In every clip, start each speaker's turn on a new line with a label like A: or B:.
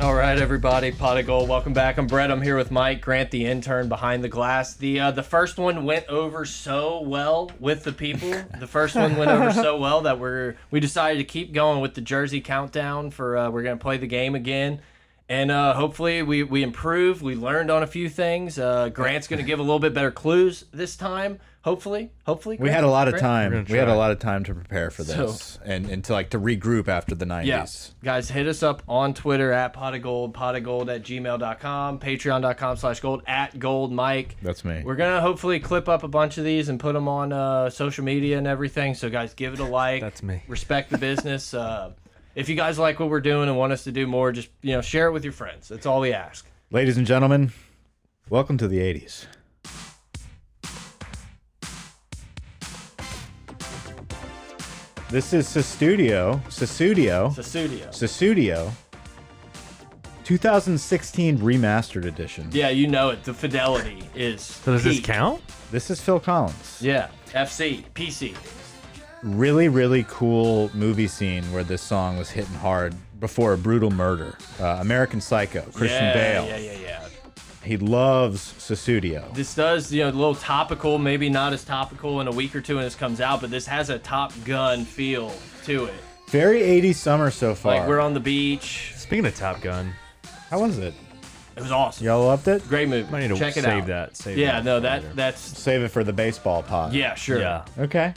A: All right, everybody, pot of gold. Welcome back. I'm Brett. I'm here with Mike Grant, the intern behind the glass. The uh, the first one went over so well with the people. The first one went over so well that we're we decided to keep going with the Jersey countdown. For uh, we're gonna play the game again, and uh, hopefully we we improve. We learned on a few things. Uh, Grant's gonna give a little bit better clues this time. Hopefully, hopefully
B: We
A: Grant?
B: had a lot of
A: Grant?
B: time.
C: gonna
B: We had a
C: try.
B: lot of time to prepare for
A: So-
B: this and, and to like to regroup after the 90s.
A: Yeah. Guys, hit us up on Twitter at pot of gold, pot of gold at gmail.com, patreon.com slash gold, at gold mike.
B: That's me.
A: We're going to hopefully clip up a bunch of these and put them on uh, social media and everything. So, guys, give it a like.
C: That's me.
A: Respect the business. uh, if you guys like what we're doing and want us to do more, just you know, share it with your friends. That's all we ask.
B: Ladies and gentlemen, welcome to the 80s. This is Sestudio, Sestudio,
A: It's a studio.
B: Sestudio 2016 remastered edition.
A: Yeah, you know it. The fidelity is.
C: So does this
A: peak.
C: count?
B: This is Phil Collins.
A: Yeah. FC, PC.
B: Really, really cool movie scene where this song was hitting hard before a brutal murder. Uh, American Psycho, Christian
A: yeah,
B: Bale.
A: Yeah, yeah, yeah.
B: He loves Sestudio.
A: this does you know a little topical maybe not as topical in a week or two when this comes out but this has a top gun feel to it
B: Very 80s summer so far.
A: like we're on the beach
C: Speaking of Top Gun,
B: How was it?
A: it was awesome
B: Y'all loved it?
A: great movie
C: I need to
A: check it
C: save
A: out
C: that. Save
A: yeah
C: that
A: no
C: for
A: that
C: later.
A: that's
B: Save it for the baseball pod.
A: yeah sure
C: yeah.
B: Okay.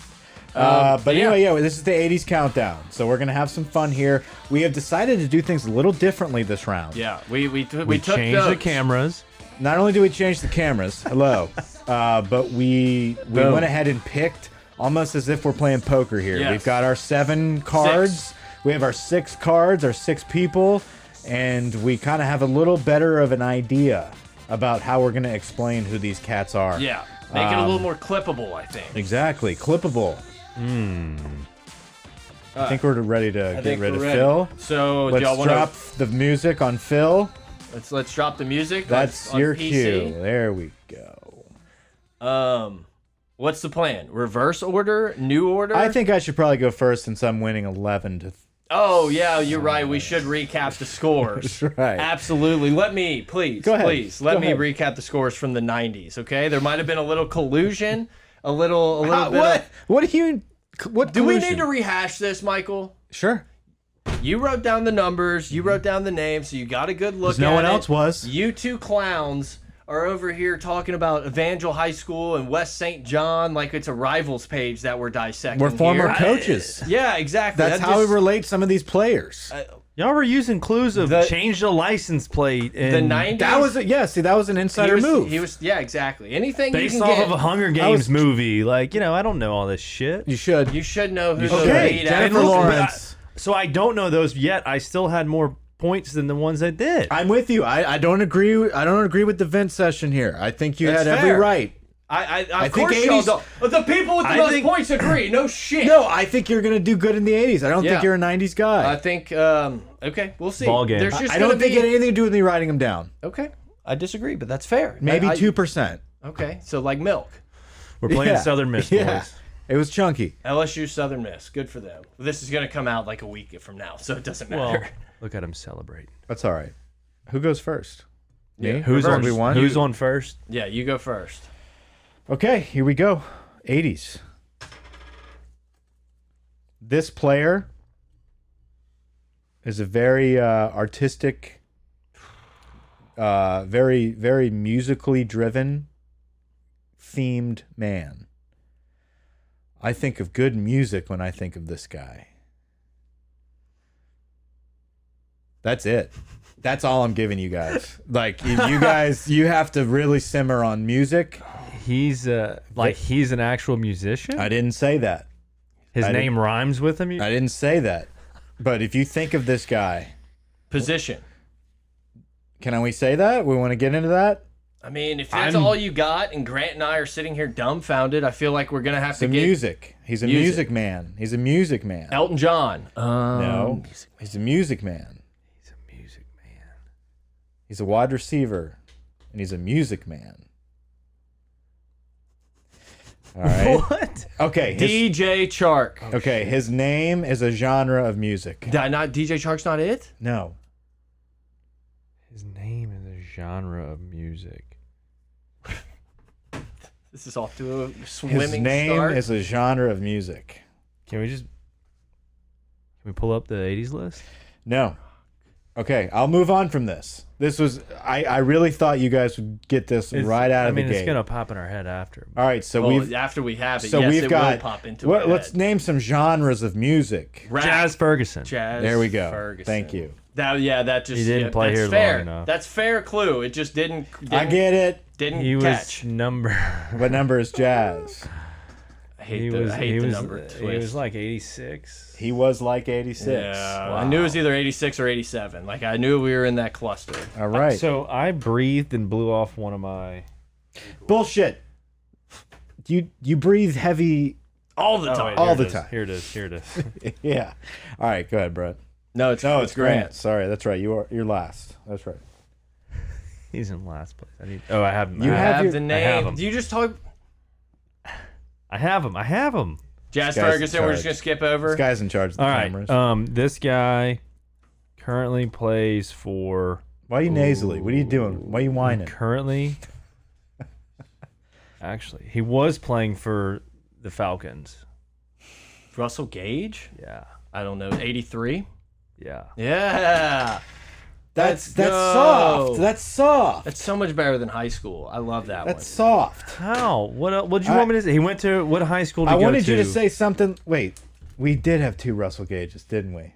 B: Uh, but
A: yeah.
B: anyway, yeah, this is the 80s countdown. So we're going to have some fun here. We have decided to do things a little differently this round.
A: yeah we we, we,
C: We,
A: took
C: changed the
A: notes.
C: cameras.
B: Not only do we change the cameras, hello, uh, but we we
C: Boom.
B: went ahead and picked almost as if we're playing poker here.
A: Yes.
B: We've got our seven cards. We have our six cards, our six people, and we kind of have a little better of an idea about how we're going to explain who these cats are.
A: yeah make it a
B: Um,
A: little more clippable i think
B: Exactly. Clippable. I think we're ready to
A: Hmm. I
B: get
A: think
B: rid
A: we're
B: of
A: ready.
B: Phil.
A: so do
B: Let's
A: y'all want
B: drop
A: to
B: the music on Phil.
A: let's let's drop the music on-
B: That's
A: on
B: your
A: PC.
B: cue. There we go.
A: um what's the plan reverse order new order
B: I think I should probably go first since I'm winning 11 to.
A: Oh yeah, you're right. We should recap the scores.
B: That's right.
A: Absolutely. Let me, please,
B: Go ahead.
A: please, let
B: Go
A: me
B: ahead.
A: recap the scores from the '90s. Okay, there might have been a little collusion, a little, a little bit.
B: what?
A: Of,
B: What do you? What
A: Ah, do we need to rehash this, Michael?
B: Sure.
A: You wrote down the numbers. You wrote down the names. So you got a good look.
B: 'Cause no
A: at
B: one
A: it.
B: else was.
A: You two clowns are over here talking about Evangel High School and West St. John like it's a rivals page that we're dissecting.
B: We're former
A: here.
B: coaches.
A: Yeah, exactly.
B: That's
A: That
B: how
A: just- Uh,
B: we relate some of these players.
C: Y'all were using clues of
A: The-
C: change the license plate and
A: the '90s.
B: that was a, yeah. See, that was an
A: he
B: insider
A: was,
B: move.
A: He was yeah, exactly. Anything you
C: based
A: can
C: off
A: get,
C: of a Hunger Games
B: was-
C: movie. Like you know, I don't know all this shit.
B: you should.
A: you should know who the
B: Okay,
A: lead
B: Jennifer
A: actor
C: But I-
B: Lawrence.
C: so I don't know those yet. I still had more points than the ones I did.
B: I'm with you. I, I don't agree. I don't agree with the vent session here. I think you
A: That's
B: had every
A: fair.
B: right.
A: I, I, of
B: think
A: course y'all
B: 80s
A: don't. But the people with the
C: I
A: most
C: think-
A: points agree. No shit.
B: No, I think you're gonna do good in the '80s. I don't
A: Yeah.
B: think you're a '90s guy.
A: I think. Um. Okay, we'll see.
C: Ball game.
A: There's
C: I-
A: just
B: I don't
A: gonna
B: think
A: be,
B: it had anything to do with me writing them down.
A: Okay, I disagree, but that's fair.
B: Maybe
A: I- I-
B: two percent.
A: Okay, so like milk.
C: We're playing Southern Miss
B: Yeah,
C: boys.
B: it was chunky.
A: LSU Southern Miss. Good for them. This is gonna come out like a week from now, so it doesn't matter.
C: Well, look at him celebrating.
B: That's all right. Who goes first? Me.
C: Who's
B: Or
C: on?
B: we want-
C: Who's on first?
A: yeah, you go first.
B: Okay, here we go. 80s. This player is a very uh, artistic, uh, very, very musically driven, themed man. I think of good music when I think of this guy. That's it. That's all I'm giving you guys. Like, you you guys, you have to really simmer on music.
C: He's uh, like he's an actual musician.
B: I didn't say that.
C: His
B: I
C: name rhymes with him.
B: I didn't say that. But if you think of this guy,
A: Position.
B: can we say that? We want to get into that?
A: I mean, if that's
C: I'm-
A: all you got, and Grant and I are sitting here dumbfounded, I feel like we're gonna have
B: The
A: to get
B: music. He's a music.
A: Music.
B: man. He's a music man.
A: Elton John. Um,
B: no. He's a music man.
C: He's a music man.
B: He's a wide receiver and he's a music man. All right.
C: What?
B: Okay. His, Oh,
A: DJ Chark.
B: okay, his name is a genre of music.
A: Did I not DJ Chark's not it?
B: No.
C: His name is a genre of music.
A: This is off to a swimming
B: His name
A: start.
B: is a genre of music.
C: Can we just can we pull up the '80s list?
B: No. Okay, I'll move on from this. This was I, I really thought you guys would get this
C: It's-
B: right out of
C: I mean,
B: the gate.
C: it's gonna pop in our head after.
B: All right, so
A: Well,
B: we've
A: after we have it,
B: so
A: Oh, yes,
B: we've
A: it
B: got
A: will pop into
B: what-
A: our
B: let's
A: head.
B: name some genres of music.
A: Rap,
C: Jazz Ferguson.
A: Jazz
B: There we go.
A: Ferguson.
B: Thank you.
A: That yeah, that just
C: He didn't
A: yeah,
C: play
A: that's
C: here long
A: fair.
C: enough.
A: That's fair clue. It just didn't. didn't
B: I get it.
A: Didn't
C: He was
A: catch.
C: number.
B: What number is jazz?
A: I
C: He
A: hate the,
C: was.
A: I hate
C: He
A: the
C: was.
A: number.
C: He
A: twist.
C: was like '86.
B: He was like 86.
A: Yeah, I knew it was either 86 or 87. Like I knew we were in that cluster.
B: All right.
C: So I breathed and blew off one of my.
B: Bullshit. You you breathe heavy.
A: All the
C: Oh,
A: time.
C: wait,
B: All
C: here
B: the
C: it is,
B: time.
C: Here it is. Here it is.
B: Yeah. All right. Go ahead, Brett.
A: no, it's
B: No, it's Grant. Sorry, that's right. You are you're last. That's right.
C: He's in last place. I need. Oh, I have him.
B: You
C: I
A: I
B: have
A: have,
B: your-
A: the
B: I
A: name.
C: have 'em.
A: Do you just talk
C: I have him. I have him.
A: Jazz
B: This guy's
A: Ferguson? We're just
B: charged.
A: gonna skip over.
B: This guy's in charge of the
C: All right.
B: cameras.
C: Um, this guy currently plays for.
B: Why are you nasally? What are you doing? Why are you whining?
C: Currently, actually, he was playing for the Falcons.
A: Russell Gage.
C: Yeah.
A: I don't know. 83.
C: Yeah.
A: Yeah,
B: That's
A: Let's
B: that's
A: go.
B: soft. That's soft.
A: that's so much better than high school. I love that
B: That's soft.
C: How? What? el- What did you
B: I-
C: want me to say? He went to what high school? Did
B: I
C: he go
B: wanted you to
C: to
B: say something. Wait, we did have two Russell Gages, didn't we?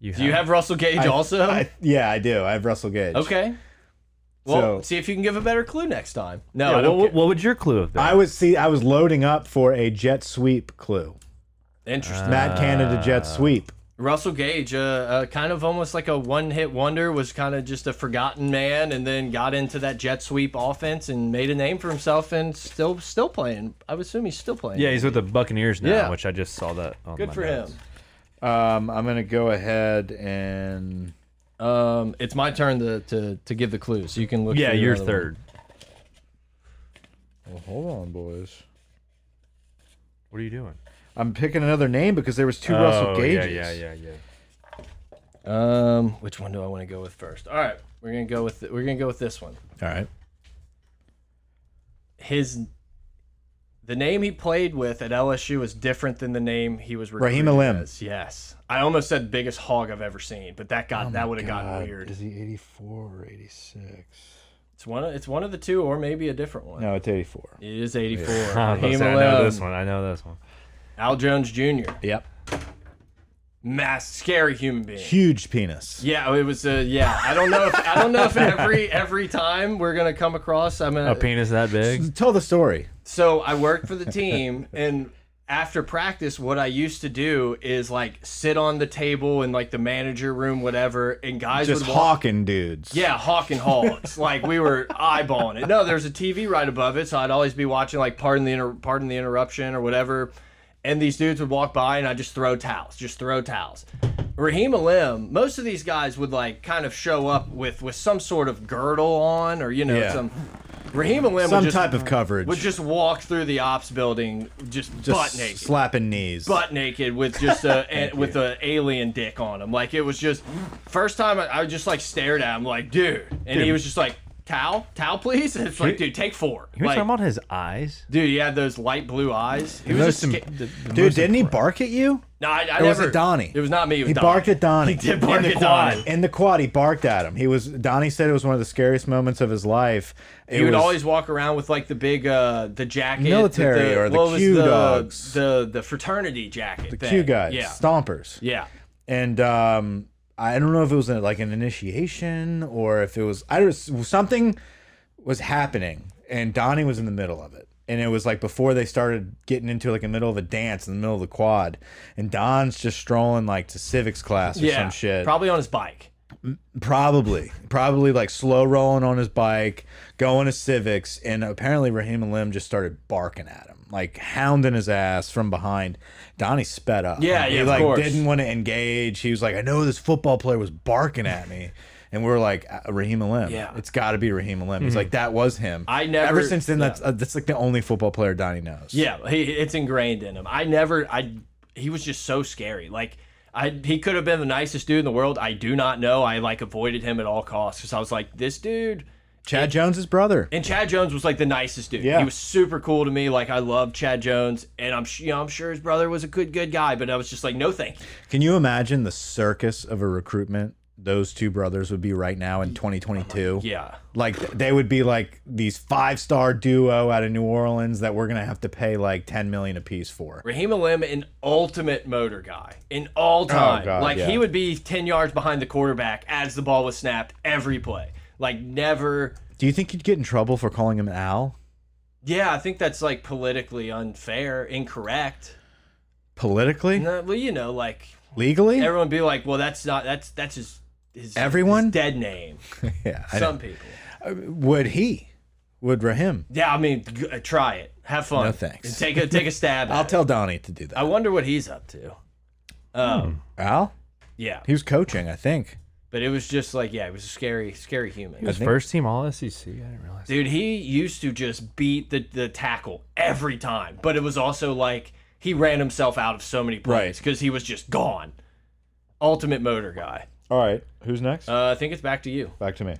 C: You
A: one. Do you have Russell Gage
B: I-
A: also?
B: I, yeah, I do. I have Russell Gage.
A: okay. Well,
B: So-
A: see if you can give a better clue next time. No,
C: Yeah,
A: I don't.
C: what, what,
A: get-
C: what would your clue have been?
B: I was see. I was loading up for a jet sweep clue.
A: Interesting.
B: Matt Canada jet sweep.
A: Russell Gage, uh, uh, kind of almost like a one-hit wonder, was kind of just a forgotten man, and then got into that jet sweep offense and made a name for himself, and still still playing. I would assume he's still playing.
C: yeah, he's with the Buccaneers now,
A: Yeah.
C: which I just saw that. On
A: good
C: my
A: for
C: notes.
A: him.
B: Um, I'm gonna go ahead and
A: Um, it's my turn to, to to give the clue, so you can look.
C: Yeah,
A: through
C: you're
A: another one.
C: third.
B: well, hold on, boys.
C: What are you doing?
B: I'm picking another name because there was two
C: Oh,
B: Russell Gages.
C: Yeah, yeah, yeah, yeah.
A: Um, which one do I want to go with first? All right, we're gonna go with we're gonna go with this one.
B: All right.
A: His the name he played with at LSU is different than the name he was
B: Raheem
A: recruited
B: Alim.
A: as. Yes, I almost said biggest hog I've ever seen, but that
C: Oh
A: got that would have gotten weird.
B: Uh, Is he 84 or 86?
A: It's one of, it's one of the two, or maybe a different one.
B: No, it's 84.
A: It is 84.
C: I, was about to
A: Raheem
C: say, I know
A: Alim,
C: this one. I know this one.
A: Al Jones Jr.
B: Yep.
A: Mass scary human being.
B: Huge penis.
A: Yeah, it was. Uh, yeah, I don't know. If, I don't know if every every time we're gonna come across. I'm
C: A
A: gonna.
C: penis that big?
B: Tell the story.
A: So I worked for the team, and after practice, what I used to do is like sit on the table in like the manager room, whatever, and guys
B: Just
A: would walk.
B: hawking dudes.
A: Yeah, hawking hogs. like we were eyeballing it. No, there's a TV right above it, so I'd always be watching like pardon the inter- pardon the interruption or whatever. And these dudes would walk by, and I just throw towels, just throw towels. Raheem Alim, most of these guys would like kind of show up with with some sort of girdle on, or you know,
B: Yeah.
A: some Raheem Alim
B: Some
A: would just,
B: type of coverage.
A: would just walk through the ops building, just,
B: Just
A: butt naked
B: slapping knees.
A: butt naked with just a, a with an alien dick on him. Like it was just first time I, I just like stared at him like, dude, and he was just like, towel, towel, please. And it's like, dude, take four.
C: You were
A: Like,
C: talking about his eyes?
A: dude, he had those light blue eyes. He was just. sca-
B: Dude, didn't he bark at you?
A: No, I, I
B: Or was
A: never-
B: it Donnie?
A: It was not me. It was
B: He
A: Donnie.
B: barked at Donnie.
A: He did bark
B: in the
A: at
B: quad.
A: Donnie.
B: In the quad, he barked at him. He was Donnie said it was one of the scariest moments of his life. It
A: He would
B: was-
A: always walk around with like the big uh the jacket,
B: Military
A: the,
B: or the
A: what was
B: Q
A: the,
B: dogs.
A: the the fraternity jacket, the
B: Q guys,
A: yeah,
B: stompers.
A: yeah.
B: and um I don't know if it was like an initiation or if it was I was something was happening and Donnie was in the middle of it. And it was like before they started getting into like the middle of a dance in the middle of the quad and Don's just strolling like to civics class or
A: yeah.
B: some shit.
A: Probably on his bike.
B: probably. Probably like slow rolling on his bike, going to civics and apparently Raheem Lim just started barking at him. Like hounding his ass from behind. Donnie sped up.
A: Yeah,
B: he
A: yeah, of
B: like
A: course.
B: didn't want to engage. He was like, I know this football player was barking at me. And we were like, "Uh, Raheem Alim.
A: Yeah. Mm-hmm.
B: It's got to be Raheem Alim. He's like, that was him.
A: I never-
B: Ever since then, that's, uh, that's like the only football player Donnie knows.
A: Yeah, he, it's ingrained in him. I never, I, he was just so scary. Like I he could have been the nicest dude in the world. I do not know. I like avoided him at all costs because I was like, this dude.
B: Chad Jones's brother.
A: And Chad Jones was like the nicest dude.
B: Yeah.
A: He was super cool to me. Like I love Chad Jones, and I'm su- you know, I'm sure his brother was a good good guy, but I was just like, no thank you.
B: Can you imagine the circus of a recruitment those two brothers would be right now in 2022?
A: Yeah.
B: Like th- they would be like these five-star duo out of New Orleans that we're going to have to pay like 10 million apiece for.
A: Raheem Alim, an ultimate motor guy in all time.
B: Oh, God,
A: like
B: yeah.
A: he would be ten yards behind the quarterback as the ball was snapped every play. Like never.
B: Do you think you'd get in trouble for calling him Al?
A: Yeah, I think that's like politically unfair, incorrect.
B: Politically?
A: No, well, you know, like
B: Legally?
A: everyone be like, well, that's not that's that's his his
B: Everyone?
A: his dead name.
B: yeah. I
A: Some people.
B: don't- would he? Would Rahim?
A: Yeah, I mean, g- uh, try it. Have fun.
B: No, thanks.
A: Take a take a stab. at
B: I'll
A: it.
B: tell Donnie to do that.
A: I wonder what he's up to. Um,
B: Al?
A: yeah,
B: He was coaching, I think.
A: but it was just like, yeah, it was a scary, scary human.
C: was first team All SEC. I didn't realize.
A: Dude, he used to just beat the, the tackle every time, but it was also like he ran himself out of so many plays
B: Right.
A: because he was just gone. Ultimate motor guy.
B: All right. Who's next?
A: Uh, I think it's back to you.
B: Back to me.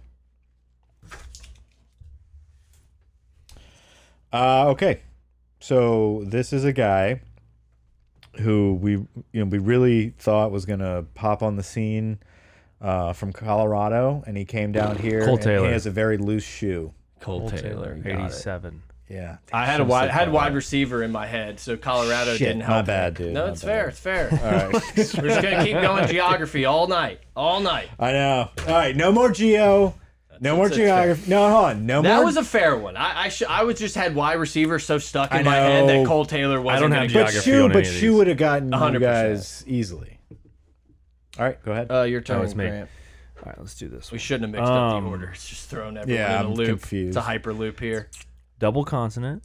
B: Uh, okay, so this is a guy who we you know we really thought was gonna pop on the scene uh, from Colorado, and he came down here.
C: Cole
B: and
C: Taylor.
B: He has a very loose shoe.
A: Cole,
C: eighty-seven.
B: Yeah,
A: I had a wide had wide receiver in my head, so Colorado
B: Shit,
A: didn't
B: my
A: help. me.
B: bad, dude,
A: No,
B: my
A: it's
B: bad.
A: fair. It's fair.
B: All right,
A: We're just gonna keep going geography all night, all night.
B: I know. All right, no more geo. No more
A: that's fair.
B: geography. No, hold on. No
A: That
B: more.
A: was a fair one. I I, sh I was just had wide receiver so stuck in
B: I
A: my head
B: know.
A: that Cole Taylor wasn't.
C: don't
A: gonna
C: have
A: do
B: but
A: it.
C: geography
B: shoe,
C: on
B: but
C: any of
B: shoe
C: these.
B: would have gotten you
A: 100%.
B: guys easily. All right, go ahead.
A: Uh, your turn,
C: That was me.
A: Grant.
C: All right, let's do this.
A: We
C: One.
A: shouldn't have mixed up
C: Um,
A: the order. It's just thrown everyone
B: yeah,
A: in a
B: I'm
A: loop.
B: confused.
A: It's a hyper loop here.
C: Double consonant.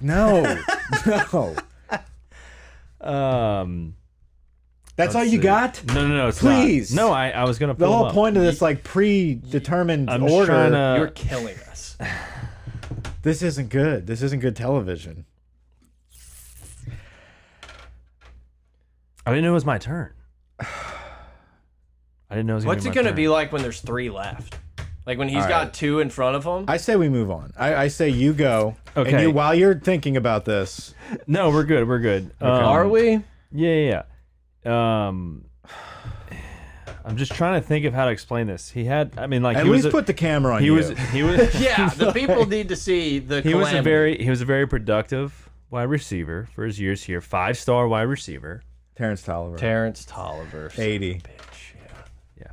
B: No, no.
C: Um,
B: That's all you
C: see.
B: got.
C: no, no, no. It's
B: Please.
C: Not. No, I, I was gonna.
B: The
C: pull
B: whole
C: up.
B: point of this like predetermined
C: I'm just
B: order.
C: trying to-
A: You're killing us.
B: This isn't good. This isn't good television.
C: I didn't know it was my turn. I didn't know it was. Gonna
A: What's
C: be
A: it
C: my
A: gonna
C: turn.
A: be like when there's three left? Like when he's got two in front of him?
B: I say we move on. I, I say you go. And
C: Okay.
B: you, while you're thinking about this,
C: No, we're good. We're good. Um,
A: Are we?
C: Yeah, yeah, yeah. Um, I'm just trying to think of how to explain this. He had. I mean, like
B: at
C: he
B: least
C: was. a-
B: put the camera on
C: he
B: you.
C: was. He was.
A: Yeah, the people need to see the.
C: He was a
A: calamity.
C: very he was a very productive wide receiver for his years here. Five star wide receiver.
B: Terrence Tolliver.
A: Terrence Tolliver. son of a
B: Eighty.
A: bitch, yeah.
C: Yeah.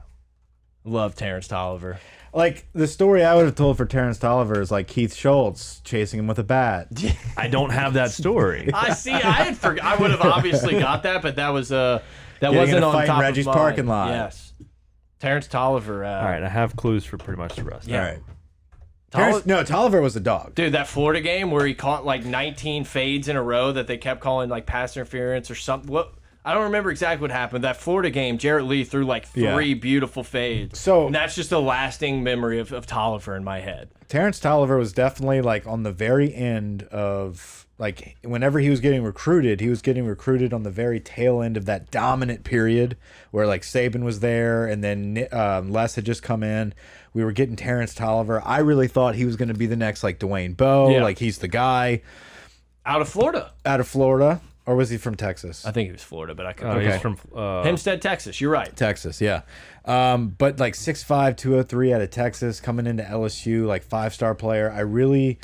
A: Love Terrence Tolliver.
B: like the story I would have told for Terrence Tolliver is like Keith Schultz chasing him with a bat.
C: I don't have that story.
A: I see. I had forgot. I would have obviously got that, but that was uh that
B: Getting in
A: wasn't
B: a
A: on
B: fight in
A: top
B: Reggie's
A: of mine.
B: parking lot.
A: Yes, Terrence Tolliver. Uh,
C: All right, I have clues for pretty much the rest.
A: Yeah.
B: All right.
A: Tolli-
B: Terrence, no, Tolliver was a dog.
A: Dude, that Florida game where he caught like 19 fades in a row that they kept calling like pass interference or something. What I don't remember exactly what happened. That Florida game, Jarrett Lee threw like three
B: Yeah.
A: beautiful fades.
B: So-
A: and that's just a lasting memory of, of Tolliver in my head.
B: Terrence Tolliver was definitely like on the very end of like whenever he was getting recruited, he was getting recruited on the very tail end of that dominant period where like Saban was there and then um, Les had just come in. We were getting Terrence Tolliver. I really thought he was going to be the next like Dwayne Bowe,
A: Yeah.
B: like he's the guy
A: Out of Florida.
B: out of Florida, or was he from Texas?
A: I think he was Florida, but I could.
C: Uh,
A: Okay.
C: He's from uh,
A: Hempstead, Texas. You're right.
B: Texas, yeah. Um, but like 6'5", 203 out of Texas, coming into LSU, like five star player. I really,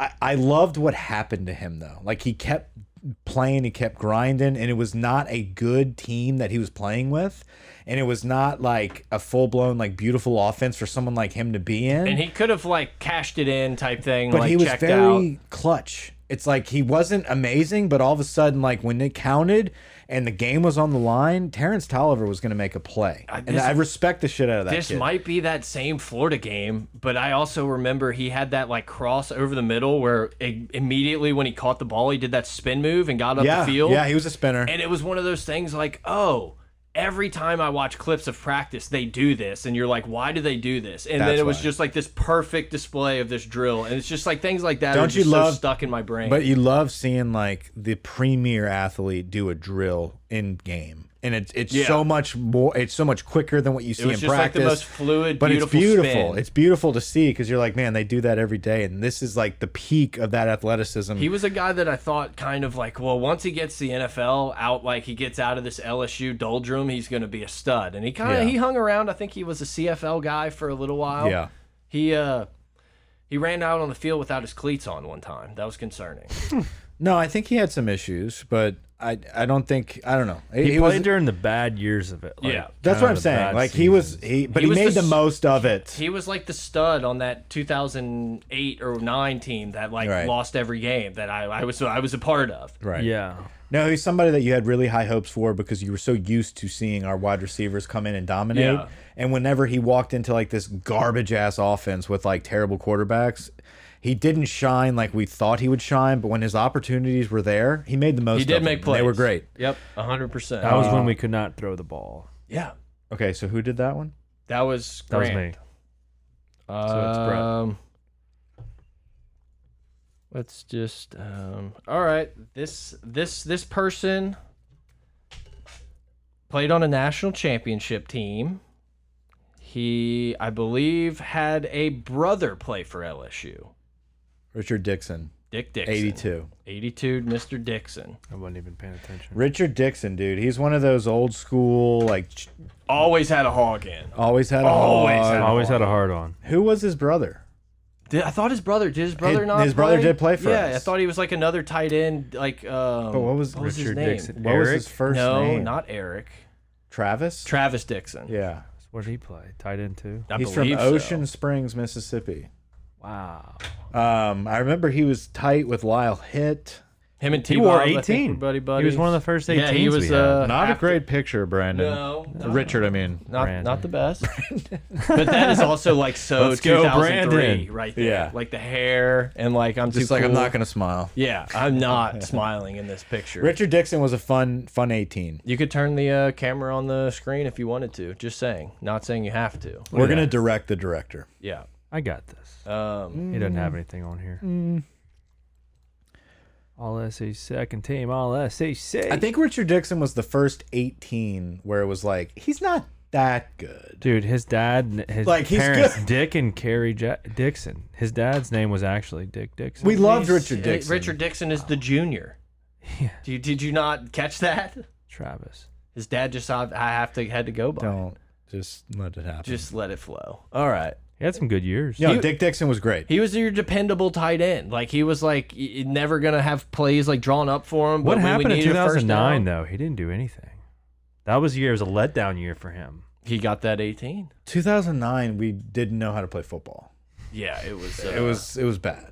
B: I, I loved what happened to him though. Like he kept playing, he kept grinding, and it was not a good team that he was playing with, and it was not like a full blown like beautiful offense for someone like him to be in.
A: And he could have like cashed it in type thing.
B: but
A: like,
B: he was
A: checked out.
B: very clutch. It's like he wasn't amazing, but all of a sudden, like when it counted and the game was on the line, Terrence Tolliver was going to make a play, and
A: Uh, this-
B: I respect the shit out of that.
A: This
B: kid.
A: might be that same Florida game, but I also remember he had that like cross over the middle where i immediately when he caught the ball, he did that spin move and got up
B: yeah,
A: the field.
B: Yeah, he was a spinner.
A: And it was one of those things like, oh, every time I watch clips of practice, they do this. And you're like, why do they do this? And then
B: That's
A: it was
B: why.
A: just like this perfect display of this drill. And it's just like things like that are
B: Don't you
A: just so
B: love-
A: stuck in my brain.
B: But you love seeing like the premier athlete do a drill in game. and it's it's
A: Yeah.
B: so much more. It's so much quicker than what you see
A: It was
B: in
A: just like
B: practice.
A: the most fluid,
B: but it's
A: beautiful.
B: beautiful.
A: spin.
B: It's beautiful to see because you're like, man, they do that every day, and this is like the peak of that athleticism.
A: He was a guy that I thought kind of like, well, once he gets the NFL out, like he gets out of this LSU doldrum, he's going to be a stud. And he kind of
B: Yeah.
A: he hung around. I think he was a CFL guy for a little while.
B: yeah,
A: He uh he ran out on the field without his cleats on one time. That was concerning.
B: no, I think he had some issues, but I I don't think I don't know. It-
C: He,
B: it
C: played
B: was-
C: during the bad years of it. Like,
A: Yeah.
B: that's what
C: kind of
B: I'm
C: the
B: saying.
C: bad
B: Like he
C: season.
B: was he, but
A: He
B: he,
A: was
B: made
A: the
B: the,
A: s-
B: most of it.
A: he was like the stud on that 2008 or 9 team that like
B: Right.
A: lost every game that I, I was I was a part of.
B: Right.
C: Yeah.
B: No, he's somebody that you had really high hopes for because you were so used to seeing our wide receivers come in and dominate.
A: Yeah.
B: And whenever he walked into like this garbage ass offense with like terrible quarterbacks, he didn't shine like we thought he would shine. But when his opportunities were there, he made the most.
A: He did
B: of
A: make
B: them, and
A: plays.
B: They were great.
A: Yep, 100%.
C: That was
B: Um,
C: when we could not throw the ball.
A: yeah.
B: Okay, so who did that one?
A: That was
C: That was
A: Grant.
C: me. it's Brett.
A: Um, let's just. Um, all right, this this this person played on a national championship team. He, I believe, had a brother play for LSU.
B: Richard Dixon,
A: Dick Dixon,
B: eighty-two.
A: 82, Mr. Dixon,
C: I wasn't even paying attention.
B: Richard Dixon, dude, he's one of those old school like ch-
A: always had a hog in.
B: always had a
A: Always
B: hog.
A: had a
C: Always had a hard on.
B: Who was his brother?
A: Did, I thought his brother did his brother
B: His-
A: not.
B: his brother did play for
A: yeah,
B: us.
A: I thought he was like another tight end, like. Um,
B: But what was-
A: his
C: Richard
A: name?
C: Dixon.
B: What was
C: Eric?
B: his first
A: no,
B: name?
A: not Eric.
B: Travis.
A: Travis Dixon.
B: yeah.
C: Where would he play? Tight end too.
A: I
B: He's from
A: believe so.
B: Ocean Springs, Mississippi.
C: Wow.
B: Um, I remember he was tight with Lyle Hitt.
A: Him and T.
C: He wore
A: Bob, I think,
C: 18.
A: were buddy
C: He was
A: buddies.
C: one of the first
A: Yeah, he
C: 18s
A: was.
C: we had.
A: uh,
B: Not a
A: after-
B: great picture, Brandon.
A: No, no.
B: Richard, I mean.
A: Not,
C: Brandon.
A: not the best. but that is also like so
C: Let's go,
A: 2003
C: Brandon.
A: right there.
B: Yeah.
A: Like the hair and like I'm
B: Just
A: too
B: like I'm
A: cool.
B: not gonna smile.
A: Yeah, I'm not smiling in this picture.
B: Richard Dixon was a fun, fun 18.
A: You could turn the uh, camera on the screen if you wanted to. Just saying. Not saying you have to.
B: We're gonna direct the director.
A: Yeah.
C: I got this.
A: Um,
C: He doesn't have anything on here.
B: mm.
C: All SEC second team. All SEC.
B: I think Richard Dixon was the first 18 where it was like he's not that good.
C: Dude, his dad, and his
B: Like, he's
C: parents,
B: good.
C: Dick and Carrie ja Dixon. His dad's name was actually Dick Dixon.
B: We loved
A: he's-
B: Richard
A: uh,
B: Dixon.
A: Richard Dixon is the junior.
C: Yeah.
A: Do you, did you not catch that?
C: Travis.
A: His dad just saw I have to had to go by. it.
B: don't just let it happen.
A: Just let it flow. All right.
C: He had some good years.
B: you know,
A: he-
B: Dick Dixon was great.
A: He was your dependable tight end. Like he was like y- y- never gonna have plays like drawn up for him. but
C: What
A: when we
C: happened in
A: needed a first down,
C: 2009 though? He didn't do anything. That was a year. It was a letdown year for him.
A: He got that 18.
B: 2009, we didn't know how to play football.
A: Yeah, it was. Uh,
B: It was, it was bad.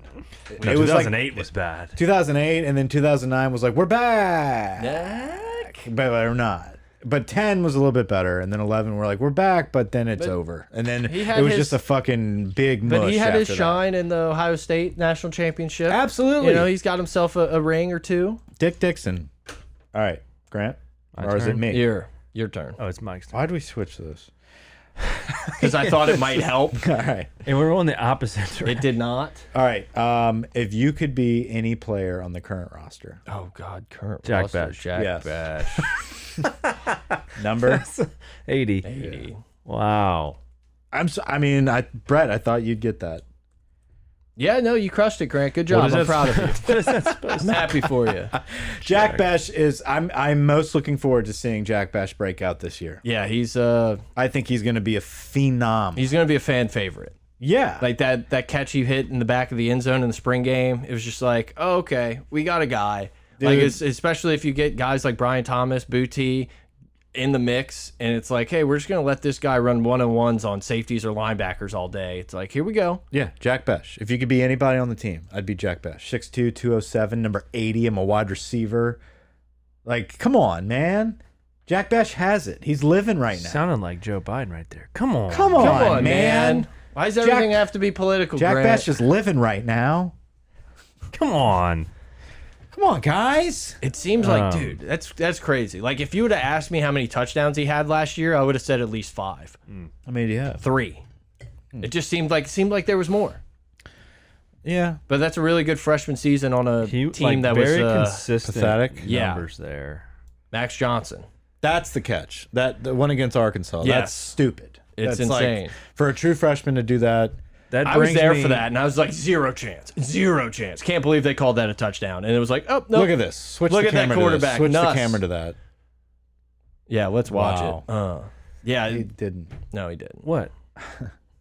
C: No,
B: it was like
C: 2008 was bad.
B: 2008, and then 2009 was like we're back.
A: Heck.
B: but we're not. But ten was a little bit better, and then eleven we're like we're back, but then it's over, and then
A: He had
B: it was
A: his-
B: just a fucking big.
A: But
B: mush
A: he had his
B: after that.
A: shine in the Ohio State national championship.
B: Absolutely,
A: You know, he's got himself a, a ring or two.
B: Dick Dixon. All right, Grant,
C: My
B: or is it
C: turn?
B: me?
A: Your your turn.
C: Oh, it's Mike's. turn.
B: Why do we switch this?
A: Because I thought it might help.
B: All right,
C: And we're on the opposite.
A: It
C: direction.
A: did not.
B: all right. Um, if you could be any player on the current roster,
A: Oh God, current
C: Jack
A: roster,
C: Bash.
A: Jack
B: Yes.
A: Bash.
B: number.
C: 80.
A: 80.
C: Wow.
B: I'm. So, I mean, I Brett, I thought you'd get that.
A: Yeah, no, you crushed it, Grant. Good job.
C: is
A: I'm
C: that-
A: proud of you. I'm happy for you.
B: Jack Bash is. I'm. I'm most looking forward to seeing Jack Bash break out this year.
A: Yeah, he's uh
B: I think he's going to be a phenom.
A: he's gonna be a fan favorite.
B: yeah.
A: Like that that catch he hit in the back of the end zone in the spring game, it was just like, oh, okay, we got a guy. Like
B: Dude.
A: it's, especially if you get guys like Brian Thomas, Booty in the mix, and it's like, hey, we're just gonna let this guy run one on ones on safeties or linebackers all day. It's like, here we go.
B: Yeah, Jack Besh. If you could be anybody on the team, I'd be Jack Besh. 6'2", 207, number 80. I'm a wide receiver. Like, come on, man. Jack Besh has it. He's living right now.
C: Sounded like Joe Biden right there. Come on.
B: Come
A: Come
B: on, man.
A: Why does
B: Jack-
A: everything have to be political,
B: Jack
A: Grant?
B: Besh is living right now.
C: Come on.
B: Come on, guys.
A: It seems like,
C: Um,
A: dude, that's that's crazy. Like, if you would have asked me how many touchdowns he had last year, I would have said at least five,
B: I mean, yeah.
A: three. It just seemed like seemed like there was more.
B: Yeah.
A: But that's a really good freshman season on a
C: He,
A: team
C: like,
A: that was
C: very
A: uh,
C: consistent
B: pathetic.
A: Yeah.
C: numbers there.
A: Max Johnson.
B: That's the catch. That the one against Arkansas.
A: Yes.
B: That's stupid.
A: It's
B: That's like-
A: insane.
B: for a true freshman to do that.
C: That
A: I was
C: brings
A: there
C: me-
A: for that, and I was like, zero chance, zero chance. Can't believe they called that a touchdown. And it was like, oh no,
B: Look at this. Switch
A: Look
B: the
A: at that
B: camera To
A: quarterback,
B: this. Switch
A: nuts.
B: the camera to that.
A: yeah, let's watch
B: Wow.
A: it. Uh, yeah,
B: He didn't.
A: no, he didn't.
C: What?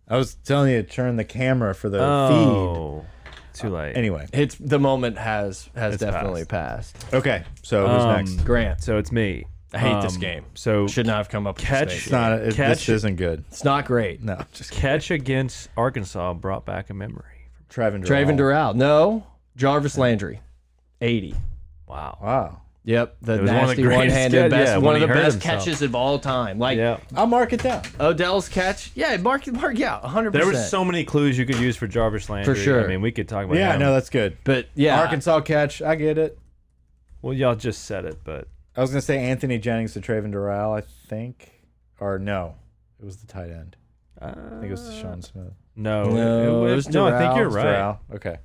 B: I was telling you to turn the camera for the
C: Oh, too late.
B: feed. Anyway,
A: It's the moment has has definitely passed.
B: okay. So who's
C: Um,
B: next?
A: Grant,
C: So it's me.
A: I hate this
C: Um,
A: game.
C: So
A: Should not have come up.
C: Catch-
A: With this
B: It's
A: name.
B: not. It,
C: catch-
B: this isn't good.
A: it's not great.
B: No, just
C: catch against Arkansas brought back a memory.
B: Traven.
A: Traven Durrell, no. Jarvis Landry, eighty.
C: Wow.
B: Wow.
A: Yep, the
C: was one of the
A: nasty
C: greatest
A: one-handed
C: catch- yeah,
A: best,
C: when
A: one of
C: he
A: the
C: hurt
A: best
C: himself.
A: catches of all time. Like
C: Yeah.
B: I'll mark it down.
A: Odell's catch. Yeah, mark mark yeah, hundred
C: There
A: percent.
C: were so many clues you could use for Jarvis Landry.
A: sure.
C: I mean, we could talk about
B: Yeah,
C: him.
B: no, that's good.
A: but yeah,
B: Arkansas catch. I get it.
C: Well, y'all just said it, but
B: I was gonna say Anthony Jennings to Traven Durrell, I think, or no, it was the tight end.
C: uh,
B: I think it was Sean Smith.
C: no.
A: No, it was
C: no, I think
A: Durrell.
C: you're
B: It's
C: right.
B: Durrell. Okay.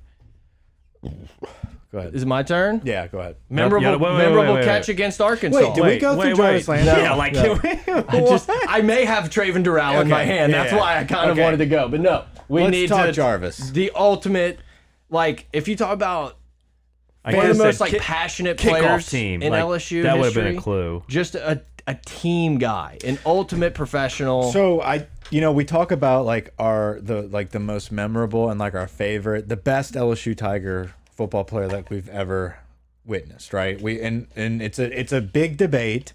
B: Go ahead.
A: is it my turn?
B: Yeah, go ahead.
A: Memorable,
C: Yeah, wait, wait, wait,
A: memorable
C: wait, wait.
A: catch against Arkansas.
B: Wait, do we go through
C: wait,
B: Jarvis
C: wait.
B: Landry?
C: yeah, like
A: I just I may have Traven Durrell in
B: Okay,
A: my hand. That's
B: yeah.
A: why I kind of
B: Okay.
A: wanted to go. But no, we
B: Let's
A: need
B: talk
A: to
B: Jarvis.
A: The ultimate, like if you talk about
C: I
A: one of
C: guess
A: the
C: that
A: most like
C: kick-
A: passionate
C: kickoff
A: players
C: team
A: in
C: like,
A: LSU
C: That would have
A: history,
C: been a clue.
A: Just a a team guy, an ultimate professional.
B: So I, you know, we talk about like our the like the most memorable and like our favorite, the best LSU Tiger football player that we've ever witnessed, right? We and and it's a it's a big debate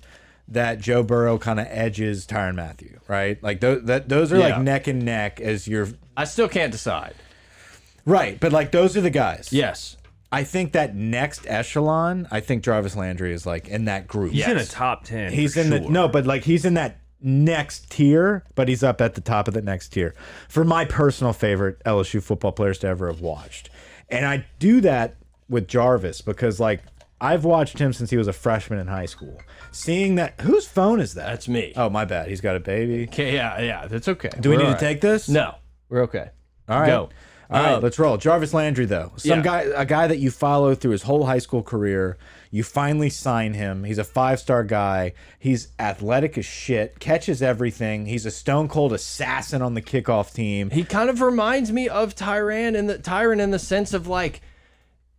B: that Joe Burrow kind of edges Tyron Matthew, right? Like those that those are
A: Yeah.
B: like neck and neck as your
A: I still can't decide.
B: right, but like those are the guys.
A: Yes,
B: I think that next echelon, I think Jarvis Landry is like in that group.
C: He's in a top ten.
B: He's
C: for
B: in the
C: sure.
B: no, but like he's in that next tier, but he's up at the top of the next tier. For my personal favorite LSU football players to ever have watched. And I do that with Jarvis because like I've watched him since he was a freshman in high school. Seeing that whose phone is that?
A: that's me.
B: Oh my bad. He's got a baby.
A: Okay, yeah, yeah, that's okay.
B: Do we
A: We're
B: need
A: all
B: to
A: right.
B: take this?
A: No, we're okay.
B: All right.
A: Go.
B: All right,
A: Um,
B: let's roll. Jarvis Landry, though, some
A: Yeah.
B: guy, a guy that you follow through his whole high school career. You finally sign him. He's a five-star guy. He's athletic as shit. Catches everything. He's a stone cold assassin on the kickoff team.
A: He kind of reminds me of Tyran in the Tyran in the sense of like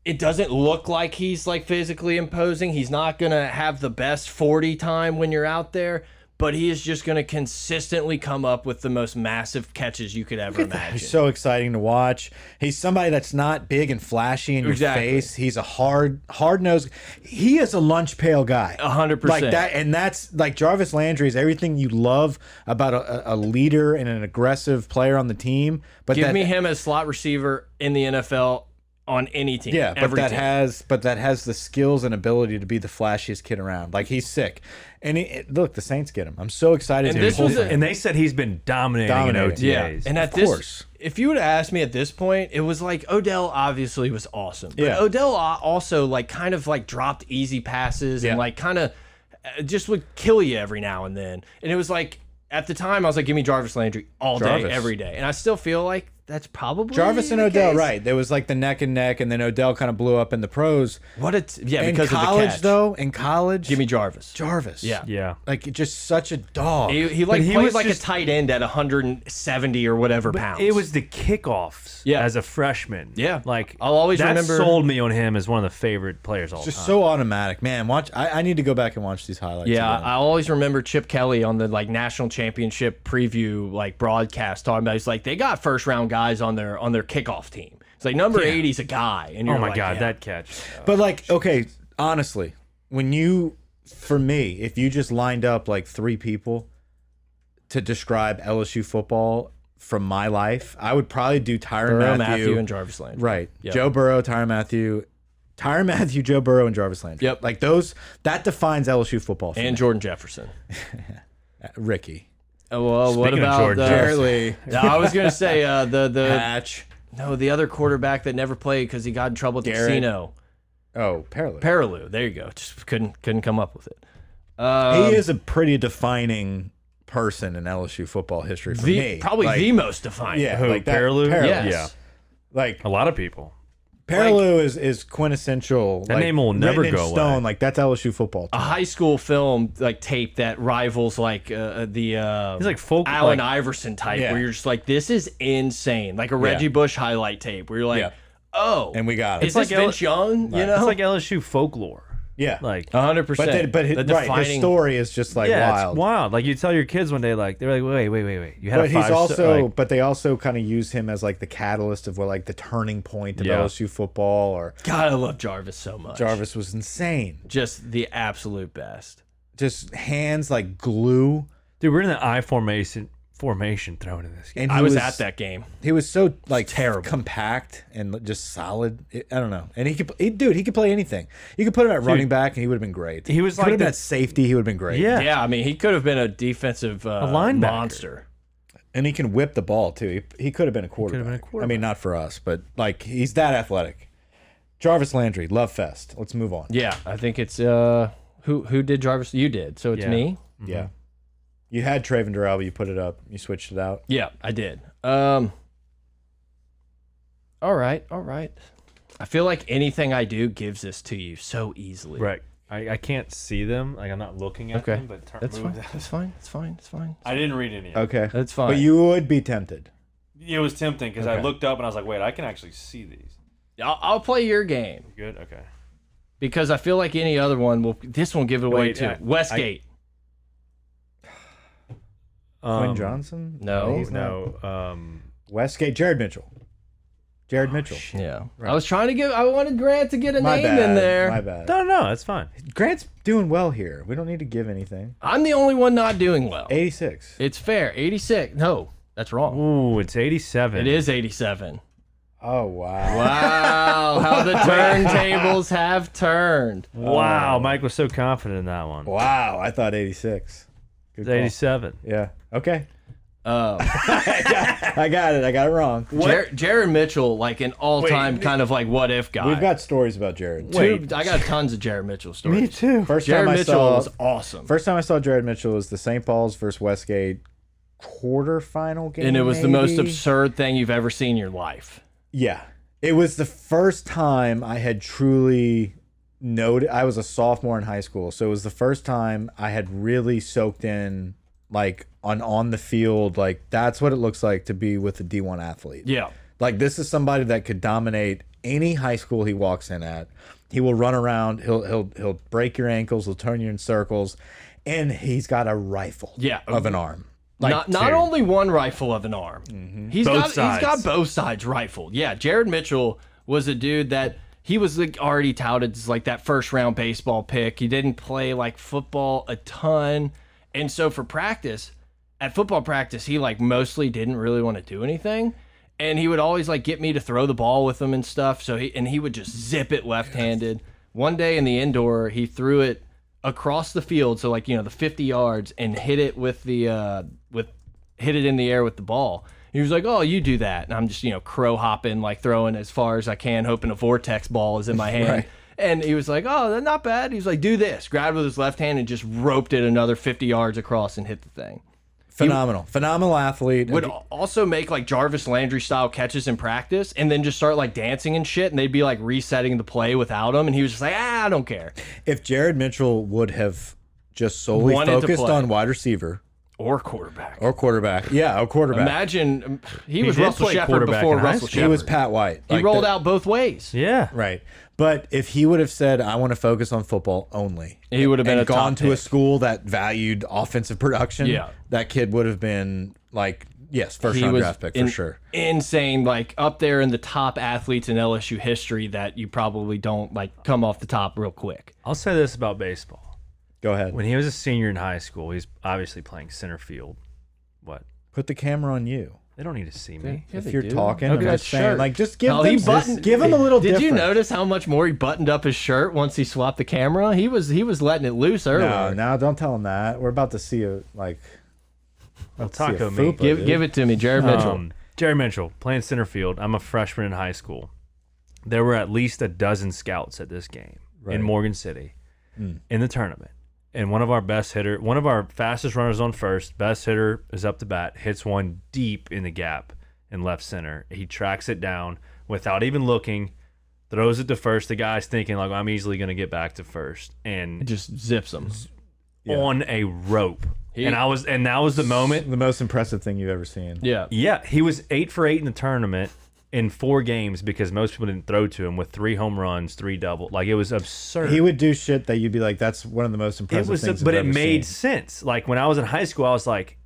A: it doesn't look like he's like physically imposing. He's not gonna have the best 40 time when you're out there, but he is just gonna consistently come up with the most massive catches you could ever imagine.
B: He's so exciting to watch. He's somebody that's not big and flashy in your
A: Exactly.
B: face. He's a hard, hard nosed. He is a lunch pail guy.
A: A hundred
B: Like
A: percent.
B: that, and that's like Jarvis Landry is everything you love about a, a a leader and an aggressive player on the team. But
A: Give
B: that,
A: me him as slot receiver in the NFL on any team.
B: yeah, but
A: every
B: that
A: team.
B: has, but that has the skills and ability to be the flashiest kid around. Like he's sick, and he, look, the Saints get him. I'm so excited.
A: And
B: to
A: this
B: behold
A: was a-
B: him.
C: And they said he's been dominating,
B: Dominating.
C: in
A: Yeah,
C: OTAs.
A: and at
B: Of
A: this,
B: course.
A: if you would have asked me at this point, it was like Odell obviously was awesome. But
B: Yeah.
A: Odell a- also like kind of like dropped easy passes
B: Yeah.
A: and like kind of uh, just would kill you every now and then. And it was like at the time I was like, give me Jarvis Landry all
B: Jarvis.
A: day, every day. And I still feel like that's probably
B: Jarvis and
A: the
B: Odell,
A: case.
B: right? There was like the neck and neck, and then Odell kind of blew up in the pros.
A: What it's yeah
B: in
A: because
B: college
A: of the catch.
B: though in college
A: Give me Jarvis.
B: jarvis
A: Yeah.
C: yeah.
B: like just such a dog
A: He, he like
C: But he
A: played
C: was
A: like
C: just-
A: a tight end at 170 or whatever pounds.
C: It was the kickoffs
A: Yeah.
C: as a freshman.
A: Yeah.
C: Like
A: I'll always
C: that
A: remember-
C: sold me on him as one of the favorite players all
B: just
A: Uh.
C: time.
B: so automatic man watch I, I need to go back and watch these highlights
A: Yeah,
B: again.
A: I always remember Chip Kelly on the like national championship preview like broadcast talking about he's like they got first round guys on their on their kickoff team. It's like number 80's a guy, and you're
C: oh my
A: like,
C: god,
A: yeah.
C: that catch.
B: but
A: Oh,
B: like okay honestly when you for me if you just lined up like three people to describe lsu football from my life i would probably do tyron
A: Burrow,
B: matthew,
A: Matthew, and Jarvis Landry.
B: right joe burrow tyron matthew tyron matthew joe burrow and jarvis landry
A: Yep.
B: like those that defines lsu football for
A: and
B: me.
A: Jordan Jefferson.
B: ricky
A: Oh, well, what
C: Speaking of
A: about
C: Jordan
A: the-
C: Jefferson.
B: barely
A: No, I was gonna say uh, the the
B: patch
A: no the other quarterback that never played because he got in trouble at the
B: Garrett.
A: casino.
B: oh parallel
A: Paraloo. There you go. Just couldn't couldn't come up with it. um,
B: he is a pretty defining person in LSU football history for
A: The
B: me.
A: probably
B: like,
A: the most defining.
B: yeah,
C: Who,
B: like that,
C: Paraloo?
B: Paraloo.
A: Yes.
C: Yeah.
B: like
C: A lot of people.
B: Parallel is is quintessential.
C: That name will
B: written
C: never
B: in
C: go away. Uh,
B: stone. Like that's LSU football.
A: a high school film like tape that rivals like uh, uh, the uh,
C: He's like folk-
A: Allen
C: like-
A: Iverson type,
B: Yeah.
A: where you're just like, this is insane, like a Reggie Bush highlight tape, where you're like,
B: Yeah.
A: oh,
B: and we got it.
A: is
C: like
A: this
C: L-
A: Vince Young? You
C: It's
A: know,
C: like LSU folklore.
B: Oh. yeah,
C: Like
A: hundred
B: but
A: percent.
B: then, but his, right, his story is just like
C: yeah,
B: wild.
C: it's wild. Like you tell your kids one day, like they're like, wait, wait, wait, wait. You had
B: But
C: a
B: he's
C: five star-
B: also,
C: like,
B: but they also kind of use him as like the catalyst of what, like the turning point of
C: Yeah.
B: LSU football. Or
A: God, I love Jarvis so much.
B: Jarvis was insane,
A: just the absolute best.
B: just hands like glue.
C: dude, we're in the I formation formation thrown in this game.
B: And he
A: I was, at that game.
B: He was so like
A: terrible.
B: compact and just solid. I I don't know. And he could, he, dude, he could play anything. You could put him at running back, and he would have been great.
C: he was
B: Put
C: like
B: him
C: the-
B: at safety, he would have been great.
C: Yeah.
A: Yeah, I mean, he could have been a defensive uh,
C: linebacker.
A: monster.
B: and he can whip the ball too. He, he could have been a quarterback.
C: been a
B: I mean, not for us, but like he's that athletic. Jarvis Landry, love fest. Let's move on.
A: Yeah, I think it's uh, who who did Jarvis? You did, so it's
C: Yeah.
A: me.
B: Yeah. You had Traven Durrell, but you put it up. You switched it out.
A: Yeah, I did. Um All right, all right. I feel like anything I do gives this to you so easily.
C: Right. I, I can't see them. Like I'm not looking at
A: Okay.
C: them. But turn,
A: That's
C: move
A: fine.
C: that.
A: That's fine. That's fine. That's fine.
C: I didn't read any. Of it.
B: Okay.
A: That's fine.
B: But you would be tempted.
C: It was tempting because I
B: Okay.
C: looked up and I was like, wait, I can actually see these.
A: I'll, I'll play your game
C: Good. Okay.
A: because I feel like any other one will. This one give it away
C: Wait,
A: too.
C: I-
A: Westgate.
C: Um,
B: Quinn Johnson?
A: no,
B: he's not.
C: No. Um.
B: Westgate, Jared Mitchell. Jared Mitchell.
A: yeah. I was trying to give. I wanted Grant to get a
B: My
A: name
B: bad.
A: in there.
B: My bad.
C: No, no, it's fine.
B: Grant's doing well here. We don't need to give anything.
A: I'm the only one not doing well.
B: 86.
A: It's fair. 86. No, that's wrong.
C: Ooh, it's 87.
A: It is 87.
B: Oh, wow.
A: Wow, how the turntables have turned.
C: Wow, Mike was so confident in that one.
B: Oh. Wow. I thought 86. Good
C: It's
B: call.
C: 87.
B: Yeah. Okay.
A: Um,
B: I got it. I got it wrong.
A: Jar Jared Mitchell, like an all-time kind of like what if guy.
B: We've got stories about Jared.
A: Two-
C: wait.
A: I got tons of Jared Mitchell stories.
C: too.
B: First
A: Jared
B: time I
A: Mitchell
B: saw
A: was awesome,
B: First time I saw Jared Mitchell was the St. Paul's versus Westgate quarterfinal game,
A: and it was the most
B: maybe?
A: absurd thing you've ever seen in your life.
B: Yeah, it was the first time I had truly noted. I was a sophomore in high school, so it was the first time I had really soaked in, like on on the field, like that's what it looks like to be with a D one athlete.
A: Yeah,
B: Like this is somebody that could dominate any high school he walks in at. He will run around. He'll he'll he'll break your ankles. He'll turn you in circles, and he's got a rifle.
A: Yeah.
B: of an arm. Like
A: not not
C: dude.
A: only one rifle of an arm. He's
C: Both
A: got he's got
C: sides.
A: both sides rifled. Yeah, Jared Mitchell was a dude that he was like already touted as like that first round baseball pick. He didn't play like football a ton, and so for practice, at football practice, he like mostly didn't really want to do anything. And he would always like get me to throw the ball with him and stuff. So he and he would just zip it left handed. One day in the indoor, he threw it across the field, so like you know the fifty yards, and hit it with the uh, with hit it in the air with the ball. He was like, "Oh, you do that," and I'm just you know crow hopping, like throwing as far as I can, hoping a vortex ball is in my hand. And he was like, "Oh, that's not bad." He was like, "Do this." Grabbed with his left hand and just roped it another fifty yards across and hit the thing
B: phenomenal, phenomenal athlete.
A: would al- also make like Jarvis Landry style catches in practice and then just start like dancing and shit and they'd be like resetting the play without him and he was just like, ah, I don't care.
B: if Jared Mitchell would have just solely
A: Wanted to
B: focused
A: play.
B: on wide receiver
A: Or quarterback.
B: or quarterback, yeah, or quarterback,
A: Imagine um, he, was
C: did
A: Russell
C: play
A: Shepard
C: quarterback
A: before
C: in high
A: Russell
B: he
A: Shepard.
C: school.
B: was Pat White.
A: He
B: Like,
A: rolled
B: the-
A: out both ways.
C: Yeah.
B: right. But if he would have said, "I want to focus on football only,"
A: He would have been
B: and
A: a top
B: gone to a
A: pick.
B: school that valued offensive production,
A: Yeah.
B: that kid would have been like, yes, first
A: He
B: round
A: was
B: draft pick
A: in-
B: for sure.
A: insane, like up there in the top athletes in LSU history that you probably don't like come off the top real quick.
C: I'll say this about baseball.
B: Go ahead,
C: When he was a senior in high school, he's obviously playing center field. What?
B: put the camera on you.
C: They don't need to see me.
B: If you're talking,
A: Look
B: I'm
A: at
B: just
A: that
B: saying,
A: shirt.
B: like, just give
A: No,
B: them,
A: he
B: this-
A: buttoned-
B: give him a little.
A: Did you
B: difference.
A: notice how much more he buttoned up his shirt once he swapped the camera? He was he was letting it loose earlier.
B: No, no, don't tell him that. We're about to see a like.
C: Well,
B: see a
C: taco
B: fupa,
C: meat.
A: Give,
B: dude.
A: give it to me, Jared Mitchell.
C: Um, Jerry Mitchell playing center field. I'm a freshman in high school. There were at least a dozen scouts at this game in Morgan City
A: Hmm.
C: in the tournament. And one of our best hitter, one of our fastest runners on first, best hitter is up to bat, hits one deep in the gap in left center. He tracks it down without even looking, throws it to first. The guy's thinking like I'm easily gonna get back to first, and
A: Just zips them.
B: Yeah.
C: on a rope.
A: He-
C: and I was, and that was the moment.
B: The most impressive thing you've ever seen.
A: Yeah.
C: Yeah, he was eight for eight in the tournament in four games because most people didn't throw to him with three home runs, three double. Like it was absurd.
B: He would do shit that you'd be like, "That's one of the most impressive
C: it was,
B: things."
C: but
B: I've
C: it
B: ever
C: made
B: seen."
C: sense. Like when I was in high school, I was like,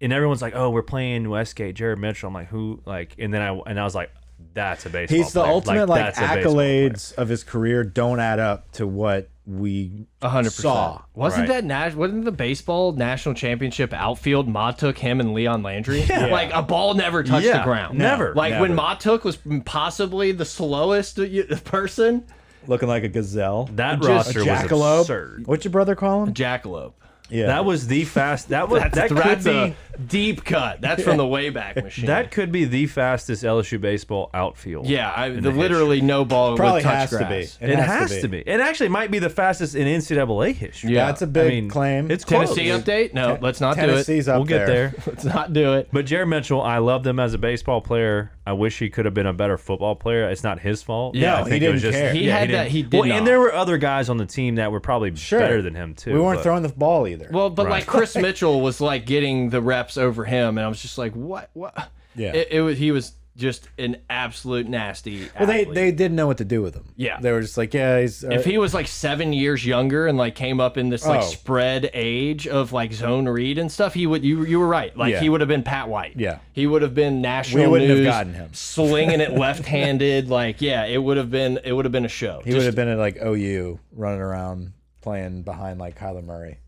C: and everyone's like, "Oh, we're playing Westgate, Jared Mitchell." I'm like, "Who?" Like, and then I and I was like, "That's a baseball."
B: He's the
C: player.
B: ultimate like,
C: that's a baseball player.
B: accolades of his career don't add up to what we
A: A hundred percent.
B: Saw.
A: Wasn't
C: Right.
A: that Nash? Wasn't the baseball national championship outfield? Ma took him and Leon Landry. Like a ball never touched
C: Yeah.
A: the ground.
C: Never.
A: Like when
B: Never.
A: Ma took was possibly the slowest uh, y- person.
B: looking like a gazelle.
C: That
A: Just
C: roster
B: a
C: was
B: jackalope.
C: absurd.
B: What's your brother call him?
A: Jackalope.
B: Yeah,
C: That was the fast. That was that could
A: that's
C: be
A: a deep cut. That's from the Wayback Machine.
C: that could be the fastest LSU baseball outfield.
A: yeah, I, the,
C: the
A: literally no ball
B: probably
A: would touch
B: has
A: grass.
B: to be.
C: It, has, to, be. It actually might be the fastest in NCAA history.
A: Yeah.
B: That's a big
C: I mean,
B: claim.
C: It's close.
A: Tennessee update? No, let's not do
B: Tennessee's
A: it.
B: up
C: We'll get there.
A: Let's not do it.
C: But Jared Mitchell, I love them as a baseball player. I wish he could have been a better football player. It's not his fault.
A: Yeah,
C: I
A: No,
B: he
C: think it was
B: didn't care.
A: He had
C: didn't-
A: that- he did
C: Well,
A: not.
C: and there were other guys on the team that were probably better than him too.
B: We weren't
C: but-
B: throwing the ball either.
A: Well, but like Chris Mitchell was like getting the reps over him, and I was just like, what? What?
B: Yeah.
A: It, it was. He was just an absolute nasty.
B: Well, they
A: athlete.
B: they didn't know what to do with him.
A: Yeah.
B: they were just like, yeah, he's. uh,
A: If he was like seven years younger and like came up in this like
B: Oh.
A: spread age of like zone read and stuff, he would you you were right. Like
B: Yeah.
A: he would have been Pat White.
B: Yeah.
A: he would have been national.
B: We wouldn't have
A: news,
B: gotten him.
A: slinging it left handed. like yeah, it would have been it would have been a show.
B: he would have been at like OU running around playing behind like Kyler Murray.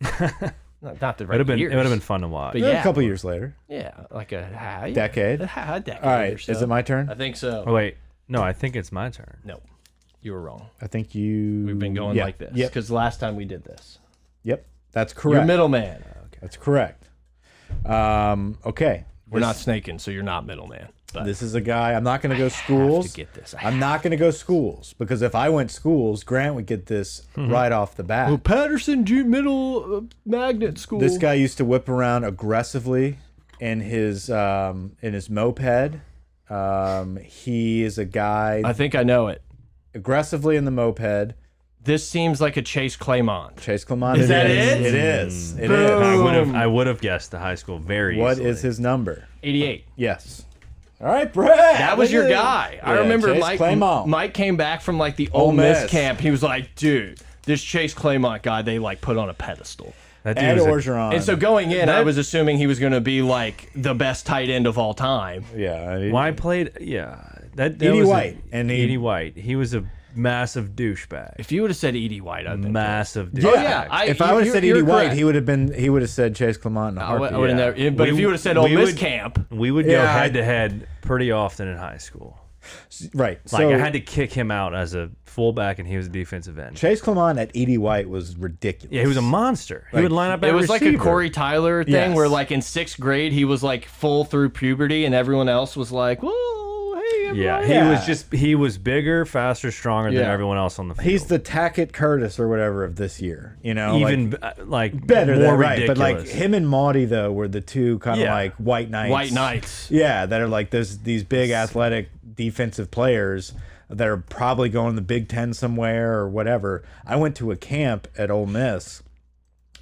A: not, not the right
C: It would have been.
A: years,
C: It would have been fun to watch.
A: But
B: Yeah,
A: yeah,
B: a couple years later,
A: yeah, like a ah, yeah,
B: decade.
A: ah, a decade.
B: All
A: or
B: right,
A: so.
B: is it my turn?
A: I think so.
C: Oh, wait, no, I think it's my turn.
A: No, you were wrong.
B: I think you.
A: We've been going
B: Mm, Yeah,
A: like this
B: Yep,
A: because last time we did this,
B: yep, that's
A: you're
B: correct.
A: middleman.
B: That's correct. Um, okay,
A: We're not snaking, so you're not middleman. But
B: this is a guy. I'm not going to go schools.
A: get this. I
B: I'm not going to go schools because if I went schools, Grant would get this
A: Mm-hmm.
B: right off the bat.
A: Patterson Ju- Middle uh, Magnet School.
B: This guy used to whip around aggressively in his um, in his moped. Um, he is a guy
A: I think I know it.
B: aggressively in the moped.
A: This seems like a Chase Claymont.
B: Chase Clement.
A: Is that it?
B: It is. It is.
C: I would have.
A: Boom.
C: I would have guessed the high school very.
B: What
C: easily.
B: is his number?
A: 88.
B: Yes. All right, Brad.
A: That was your guy. I
B: Yeah,
A: remember
B: Chase
A: Mike.
B: Clement.
A: Mike came back from like the Ole Miss,
B: Miss.
A: camp. He was like, "Dude, this Chase Claymont guy, they like put on a pedestal."
C: That dude
B: Ed
C: was a-
B: Orgeron.
A: And so going in, I was assuming he was going to be like the best tight end of all time.
B: yeah. I-
C: Why I played? Yeah, that, that
B: Edie
C: was a-
B: White, and he-
C: Edie White. He was a massive douchebag.
A: If you would have said Edie White, I'd been
C: Massive douchebag.
A: Oh, yeah. I-
B: if
A: you-
B: I would have
A: you're-
B: said
A: you're
B: Edie White,
A: correct.
B: he would have been. He would have said Chase Clement. in a
A: I would, have
B: heartbeat.
C: Yeah.
A: never. yeah, But
C: We
A: if you
C: would-
A: would have said Ole
C: we
A: Miss
C: would-
A: camp,
C: We would go
B: Yeah, I-
C: head to head pretty often in high school.
B: Right.
C: Like
B: so
C: I had to kick him out as a fullback, and he was a defensive end.
B: Chase Clement at Edie White was ridiculous.
C: yeah, he was a monster. he would line up.
A: it
C: at
A: was like a
C: receiver.
A: Corey Tyler thing
B: Yes.
A: where, like, in sixth grade, he was like full through puberty, and everyone else was like, "Whoa, hey, everybody."
C: Yeah, he
B: Yeah.
C: was just he was bigger, faster, stronger than
A: Yeah.
C: everyone else on the field.
B: He's the Tackett Curtis or whatever of this year. You know, like,
C: even uh, like,
B: better
C: more
B: than right. But
C: ridiculous.
B: like him and Maudie though were the two kind of
C: Yeah.
B: like white knights.
A: White Knights.
B: Yeah, that are like those these big athletic defensive players that are probably going to the Big Ten somewhere or whatever. I went to a camp at Ole Miss,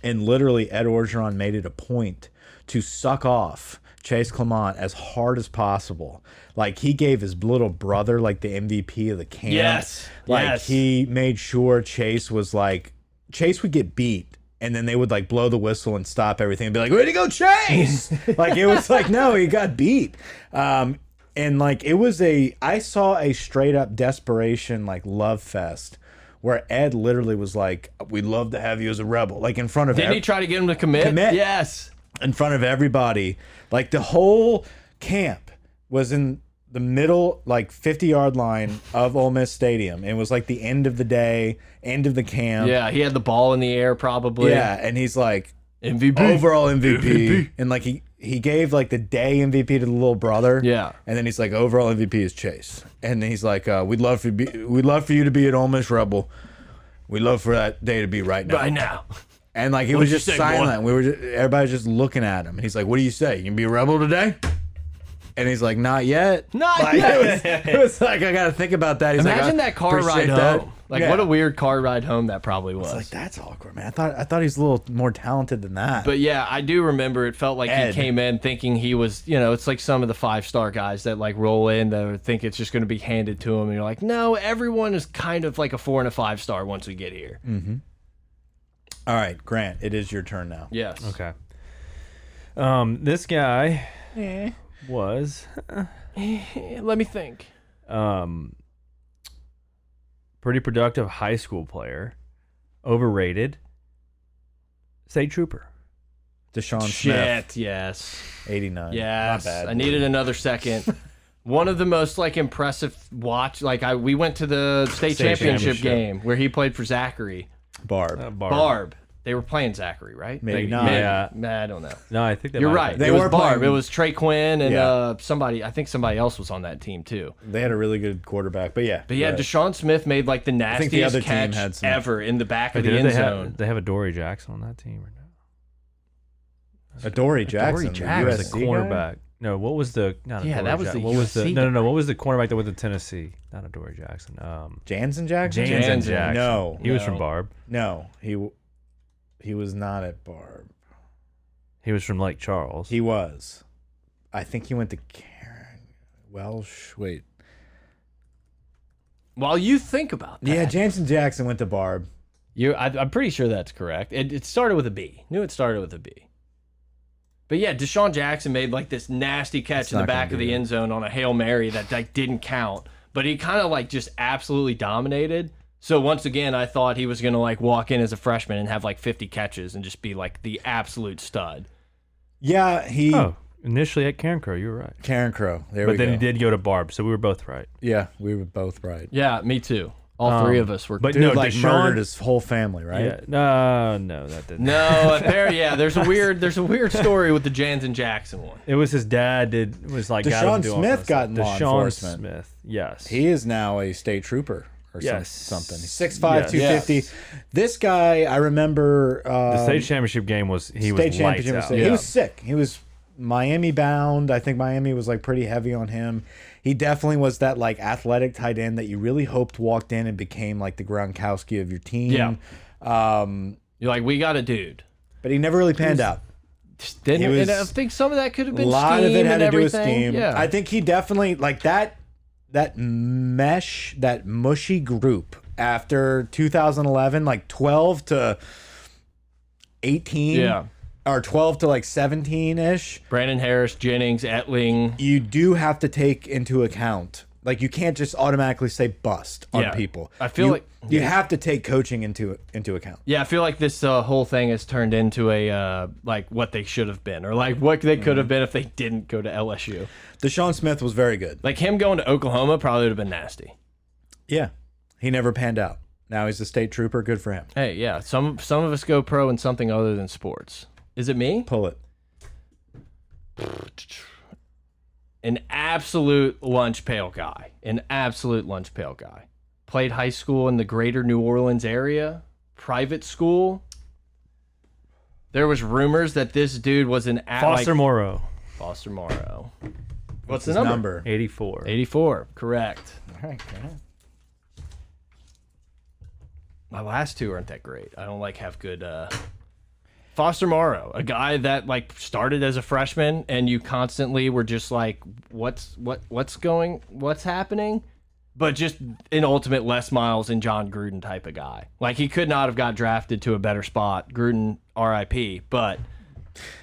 B: and literally Ed Orgeron made it a point to suck off. Chase Clement as hard as possible. Like he gave his little brother like the MVP of the camp.
A: Yes,
B: Like
A: yes.
B: he made sure Chase was like Chase would get beat and then they would like blow the whistle and stop everything and be like, Where'd he go, Chase? like it was like, no, he got beat. Um and like it was a I saw a straight up desperation like love fest where Ed literally was like, We'd love to have you as a rebel. Like in front of
A: Didn't
B: ev-
A: he try to get him to commit?
B: Commit.
A: Yes.
B: in front of everybody. Like the whole camp was in the middle, like 50 yard line of Ole Miss Stadium. It was like the end of the day, end of the camp.
A: Yeah, he had the ball in the air, probably.
B: Yeah. And he's like
A: MVP.
B: overall MVP. And like he, he gave like the day MVP to the little brother.
A: Yeah.
B: And then he's like, overall MVP is Chase. And then he's like, uh, we'd love for you be, we'd love for you to be an Ole Miss Rebel. We'd love for that day to be right now.
A: Right now.
B: And like he was
A: you
B: just
A: say, boy?
B: silent. We were just, everybody was just looking at him. And he's like, "What do you say? You can be a rebel today?" And he's like, not yet.
A: Not
B: Like,
A: yet.
B: It was, it was like, I got to think about that. He's
A: Imagine
B: like, I
A: that car ride
B: appreciate that.
A: home. Like
B: Yeah.
A: what a weird car ride home that probably was.
B: It's like, that's awkward, man. I thought, I thought he was a little more talented than that.
A: But yeah, I do remember it felt like he
B: Ed.
A: came in thinking he was, you know, it's like some of the five star guys that like roll in that think it's just going to be handed to them. And you're like, no, everyone is kind of like a four and a five star once we get here.
B: All right, Grant, it is your turn now.
A: Yes.
C: Okay. Um, this guy was
A: Let me think.
C: um pretty productive high school player, overrated. State trooper.
B: Deshaun Smith,
A: Shit. Yes.
B: 89.
A: Yes.
B: Not bad.
A: I needed another second. One of the most like impressive watch. Like I, we went to the state,
C: State
A: championship,
C: championship.
A: game where he played for Zachary
B: Barb.
A: Oh.
C: Uh, Barb.
A: Barb. They were playing Zachary, right?
B: Maybe
C: Like,
B: not.
C: yeah.
A: Nah, I don't know.
C: No, I think that
A: You're
C: might
A: right.
C: have
B: They
C: been-
A: it was
B: were
A: Barb.
B: playing-
A: It was Trey Quinn and
B: Yeah.
A: uh, somebody. I think somebody else was on that team too.
B: They had a really good quarterback, but yeah.
A: But yeah,
B: right.
A: Deshaun Smith made like the
B: think the
A: nastiest
B: other team
A: catch
B: had some-
A: ever in the back of
C: But
A: the
C: didn't
A: end
C: Oh, they
A: zone.
C: have they have a Dory Jackson on that team right now.
B: Adoree Jackson,
C: Dory Jackson, the
B: USC guy?
C: cornerback. No, what was the? Not
A: Yeah,
C: Adoree
A: that was
C: Jack-
A: the
C: What was the?
A: USC
C: No, no, no. What was the cornerback that went to Tennessee? Not a Dory Jackson. Um,
B: Jansen Jackson.
C: Jansen,
A: Jansen.
C: Jackson.
B: No,
C: he was from
A: No.
C: Barb.
B: no, he w- he was not at Barb.
C: He was from Lake Charles.
B: He was. I think he went to Karen Welsh. Wait.
A: While you think about that,
B: Yeah, Jansen Jackson went to Barb.
A: you, I, I'm pretty sure that's correct. It, it started with a B. Knew it started with a B. But yeah, Deshaun Jackson made like this nasty catch in the
B: not gonna
A: back of
B: be
A: the
B: it.
A: end zone on a hail mary that like didn't count. But he kind of like just absolutely dominated. So once again, I thought he was gonna like walk in as a freshman and have like 50 catches and just be like the absolute stud.
B: Yeah, he
C: oh, initially at Karen Crow. You were right.
B: Karen Crow. There we
C: But then
B: go.
C: he did go to Barb, so we were both right.
B: Yeah, we were both right.
A: Yeah, me too. All three of us were.
C: But
B: Dude,
C: no,
B: like murdered
C: Deshaun.
B: his whole family, right?
C: Yeah, no, no, that didn't.
A: no, there, yeah, there's a weird, there's a weird story with the Jansen Jackson one.
C: It was his dad did was like got him
B: Deshaun
C: to do all
B: Smith
C: kinda stuff.
B: got in law
C: Deshaun
B: enforcement.
C: Smith, yes.
B: He is now a state trooper or some-
C: Yes.
B: something. Six five,
C: Yes.
B: two fifty.
A: Yes.
B: This guy, I remember. Uh,
C: the state championship game was he was
B: state
C: lights
B: championship.
C: out.
B: state- He was sick. He was Miami bound. I think Miami was like pretty heavy on him. He definitely was that like athletic tight end that you really hoped walked in and became like the Gronkowski of your team.
A: Yeah.
B: Um,
A: You're like, we got a dude.
B: but he never really panned out.
A: Didn't,
B: It
A: and I
B: was-
A: think some of that could have
B: A
A: been
B: lot of
A: scheme
B: it had
A: and
B: to do with
A: everything.
B: steam.
A: Yeah,
B: I think he definitely like that that mesh, that mushy group after 2011, like 12 to 18.
A: Yeah.
B: Or 12 to like 17 ish.
A: Brandon Harris, Jennings, Etling.
B: you do have to take into account like you can't just automatically say bust on
A: Yeah.
B: people.
A: I feel
B: You-
A: like-
B: you have to take coaching into into account.
A: Yeah, I feel like this uh, whole thing has turned into a uh, like what they should have been, or like what they could
B: Mm-hmm.
A: have been if they didn't go to LSU.
B: Deshaun Smith was very good.
A: Like him going to Oklahoma probably would have been nasty.
B: Yeah. He never panned out. Now he's a state trooper. Good for him.
A: Hey, yeah, some some of us go pro in something other than sports. Is it me?
B: Pull it.
A: an absolute lunch pail guy. An absolute lunch pail guy. Played high school in the greater New Orleans area, private school. There was rumors that this dude was an at,
C: Foster
A: like,
C: Morrow,
A: Foster Morrow. What's the
B: His
A: number?
B: number.
C: eighty four.
A: 84, correct.
B: All right, Grant.
A: My last two aren't that great. I don't like have good uh Foster Morrow, a guy that like started as a freshman and you constantly were just like what's what what's going what's happening? But just an ultimate Les Miles and John Gruden type of guy. Like he could not have got drafted to a better spot. Gruden RIP, but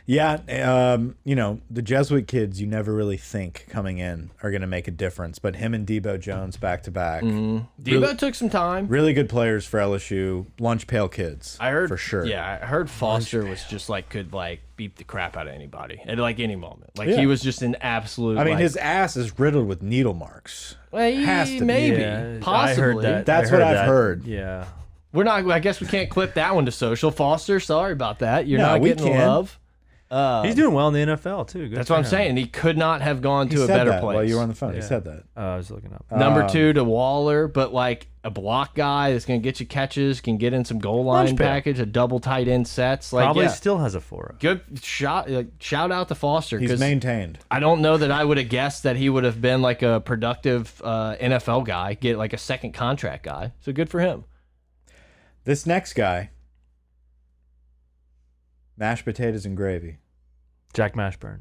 B: Yeah, um, you know the Jesuit kids. You never really think coming in are going to make a difference, but him and Debo Jones back to back,
A: Debo took some time.
B: really good players for LSU. Lunch pail kids.
A: I heard
B: for sure.
A: Yeah, I heard Foster was just like could like beat the crap out of anybody at like any moment. Like
B: Yeah.
A: he was just an absolute.
B: I mean,
A: like,
B: his ass is riddled with needle marks.
A: well,
B: has to be.
A: maybe
C: Yeah, I
A: possibly.
C: heard that.
B: That's
C: I heard
B: what I've
C: that.
B: heard.
C: Yeah,
A: We're not. I guess we can't clip that one to social. Foster, sorry about that. You're
B: No,
A: not
B: we
A: getting the
B: can.
A: love.
B: Uh,
C: He's doing well in the NFL too. Good
A: Um, That's
C: for
A: what I'm
C: him.
A: saying. He could not have gone to a
B: said
A: better
B: that
A: place.
B: While you were on the phone, he
C: Yeah.
B: said that.
C: Uh, I was looking up.
A: Number
B: Um,
A: two to Waller, but like a block guy that's going to get you catches, can get in some goal line
C: Lunch pail.
A: package, a double tight end sets. Like,
C: Probably
A: yeah,
C: still has a four.
A: good shot. Like, shout out to Foster
B: He's
A: because
B: maintained.
A: I don't know that I would have guessed that he would have been like a productive uh, NFL guy, get like a second contract guy. So good for him.
B: This next guy, mashed potatoes and gravy.
C: Jack Mashburn.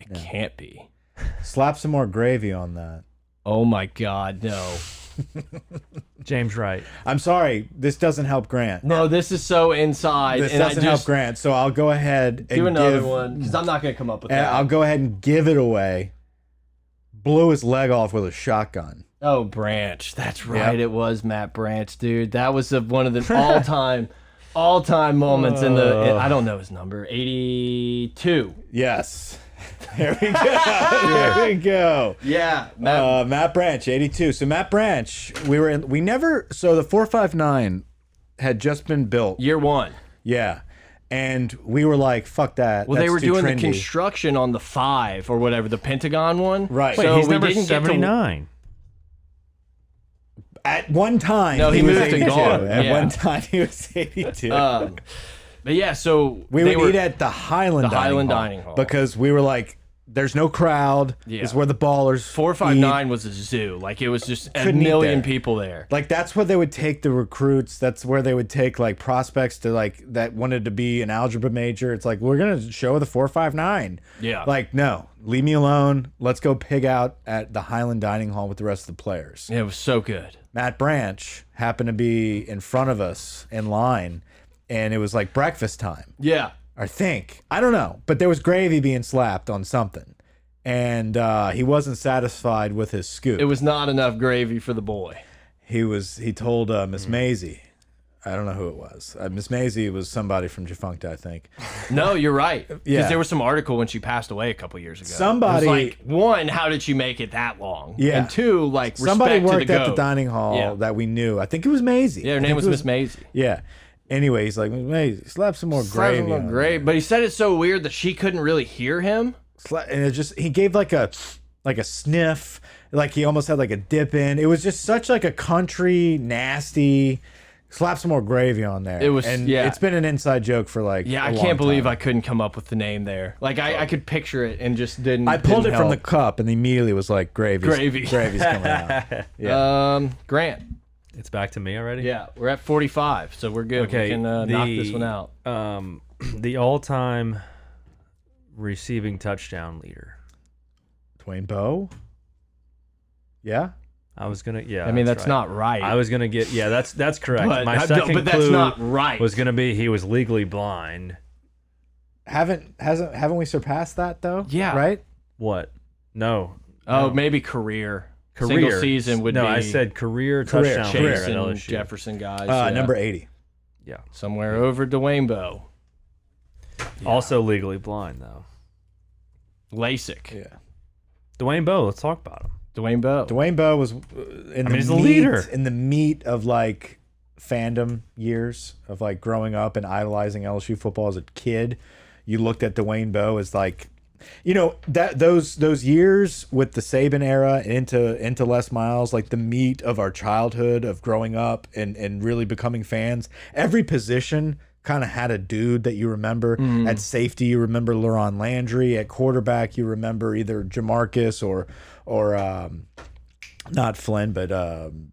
A: It can't be.
B: Slap some more gravy on that.
A: Oh my God, no.
C: James Wright.
B: I'm sorry, this doesn't help Grant.
A: No, this is so inside.
B: This
A: and I
B: doesn't help
A: just
B: Grant, so I'll go ahead and
A: do another
B: give,
A: one because I'm not going to come up with
B: and
A: that.
B: I'll go ahead and give it away. Blew his leg off with a shotgun.
A: Oh, Branch. That's right. It was Matt Branch, dude. That was the, one of the all-time, all-time moments in the.
B: Uh.
A: I don't know his number. Eighty-two.
B: Yes. There we go. there we go.
A: Yeah, Matt.
B: Uh, Matt Branch, 82. So Matt Branch, we were in, we never, so the 459 had just been built.
A: year one.
B: Yeah. And we were like, fuck that.
A: Well, they
B: that's
A: were
B: too
A: doing
B: trendy.
A: the construction on the five or whatever, the Pentagon one.
B: Right.
C: Wait,
A: so
C: he's
A: we
C: number
A: didn't get to-
C: seventy nine.
B: At one time,
A: No, he
B: was
A: moved to
B: 82.
A: Gaunt.
B: At
A: Yeah.
B: one time, he was 82.
A: Um, but yeah, so
B: we
A: they
B: would
A: were,
B: eat at the Highland,
A: The
B: dining,
A: Highland
B: hall
A: Dining Hall.
B: because we were like, there's no crowd.
A: Yeah.
B: It's where the ballers
A: four five
B: eat.
A: nine was a zoo. Like it was just a
B: Couldn't eat
A: million
B: there.
A: people there.
B: Like that's where they would take the recruits. That's where they would take like prospects to like that wanted to be an algebra major. It's like we're gonna show the four five nine.
A: Yeah.
B: Like no, leave me alone. Let's go pig out at the Highland Dining Hall with the rest of the players.
A: It was so good.
B: Matt Branch happened to be in front of us in line, and it was like breakfast time.
A: Yeah.
B: I think. I don't know. But there was gravy being slapped on something. And uh, he wasn't satisfied with his scoop.
A: It was not enough gravy for the boy.
B: he was he told uh, Miss
A: Hmm.
B: Maisie, I don't know who it was. Uh, Miss Maisie was somebody from Defunct, I think.
A: No, you're right. Because
B: Yeah.
A: there was some article when she passed away a couple years ago.
B: Somebody-
A: It was like one, how did she make it that long?
B: Yeah.
A: and two, like respect
B: somebody worked
A: to the
B: at the
A: goat.
B: dining hall
A: Yeah.
B: that we knew. I think it was Maisie.
A: Yeah,
B: I
A: her name
B: think
A: was
B: it
A: Miss Maisie.
B: Yeah. Anyway, he's like, Miss Maisie, slap some more gravy. on it."
A: Great, but he said it so weird that she couldn't really hear him.
B: Sla- And it just he gave like a like a sniff, like he almost had like a dip in. It was just such like a country nasty. Slap some more gravy on there.
A: It was-
B: and
A: yeah.
B: It's been an inside joke for like
A: Yeah,
B: I
A: I can't believe I couldn't come up with the name there. Like I, I could picture it and just didn't.
B: I pulled it
A: didn't
B: from the
A: help.
B: cup and immediately was like gravy,
A: Gravy.
B: gravy's coming out.
A: um Grant.
C: It's back to me already.
A: Yeah, we're at 45, so we're good.
C: Okay.
A: we can uh,
C: the,
A: knock this one out.
C: Um, the all time receiving touchdown leader.
B: Dwayne Bowe. Yeah,
C: I was gonna. Yeah.
A: I mean, that's,
C: right.
A: not right.
C: I was gonna get yeah. That's that's correct.
A: But-
C: My
A: no,
C: second
A: but that's
C: clue
A: not right.
C: was gonna be he was legally blind.
B: haven't hasn't haven't we surpassed that though?
A: Yeah.
B: right.
C: What? No.
A: oh, maybe career.
C: Career
A: Single season would
C: no.
A: be.
C: I said career,
B: Career,
C: touchdown
B: career.
C: leader
A: Chase
C: at
A: and
C: LSU.
A: Jefferson guys.
B: Uh,
A: yeah.
B: Number eighty.
C: Yeah.
A: somewhere over Dwayne Bowe.
C: Also legally blind though.
A: LASIK.
B: Yeah,
C: Dwayne Bowe. Let's talk about him.
A: Dwayne Bowe.
B: Dwayne Bowe was uh, in the
C: he's the
B: meat,
C: leader.
B: in the meat of like fandom years of like growing up and idolizing LSU football as a kid. You looked at Dwayne Bowe as like, you know that those those years with the Saban era and into into Les Miles, like the meat of our childhood of growing up and and really becoming fans. Every position kind of had a dude that you remember
C: Mm.
B: at safety. You remember Leron Landry at quarterback. You remember either Jamarcus or or um, not Flynn, but um,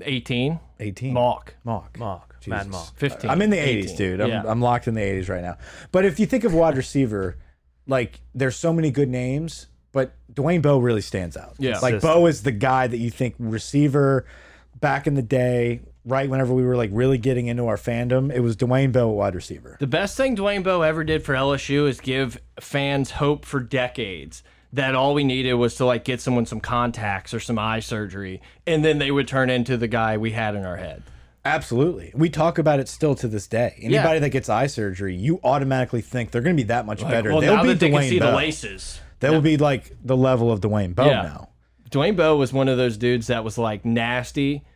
A: 18.
B: 18.
A: Mock.
B: Mock.
C: Mock. Mad
B: Jesus.
C: Mock.
A: 15.
B: I'm in the
A: 18.
B: 80s, dude. I'm,
A: Yeah.
B: I'm locked in the 80s right now. But if you think of wide receiver, like there's so many good names, but Dwayne Bowe really stands out.
A: Yeah.
B: Like Bowe is the guy that you think receiver back in the day, right whenever we were like really getting into our fandom, it was Dwayne Bowe at wide receiver.
A: The best thing Dwayne Bowe ever did for LSU is give fans hope for decades that all we needed was to like get someone some contacts or some eye surgery and then they would turn into the guy we had in our head.
B: Absolutely. We talk about it still to this day. Anybody that gets eye surgery, you automatically think they're going to be that much better.
A: Well,
B: They'll
A: now
B: be
A: that they
B: Dwayne
A: can see
B: Bowe.
A: the laces.
B: That will be like the level of Dwayne Bowe
A: Yeah.
B: now.
A: Dwayne Bowe was one of those dudes that was like nasty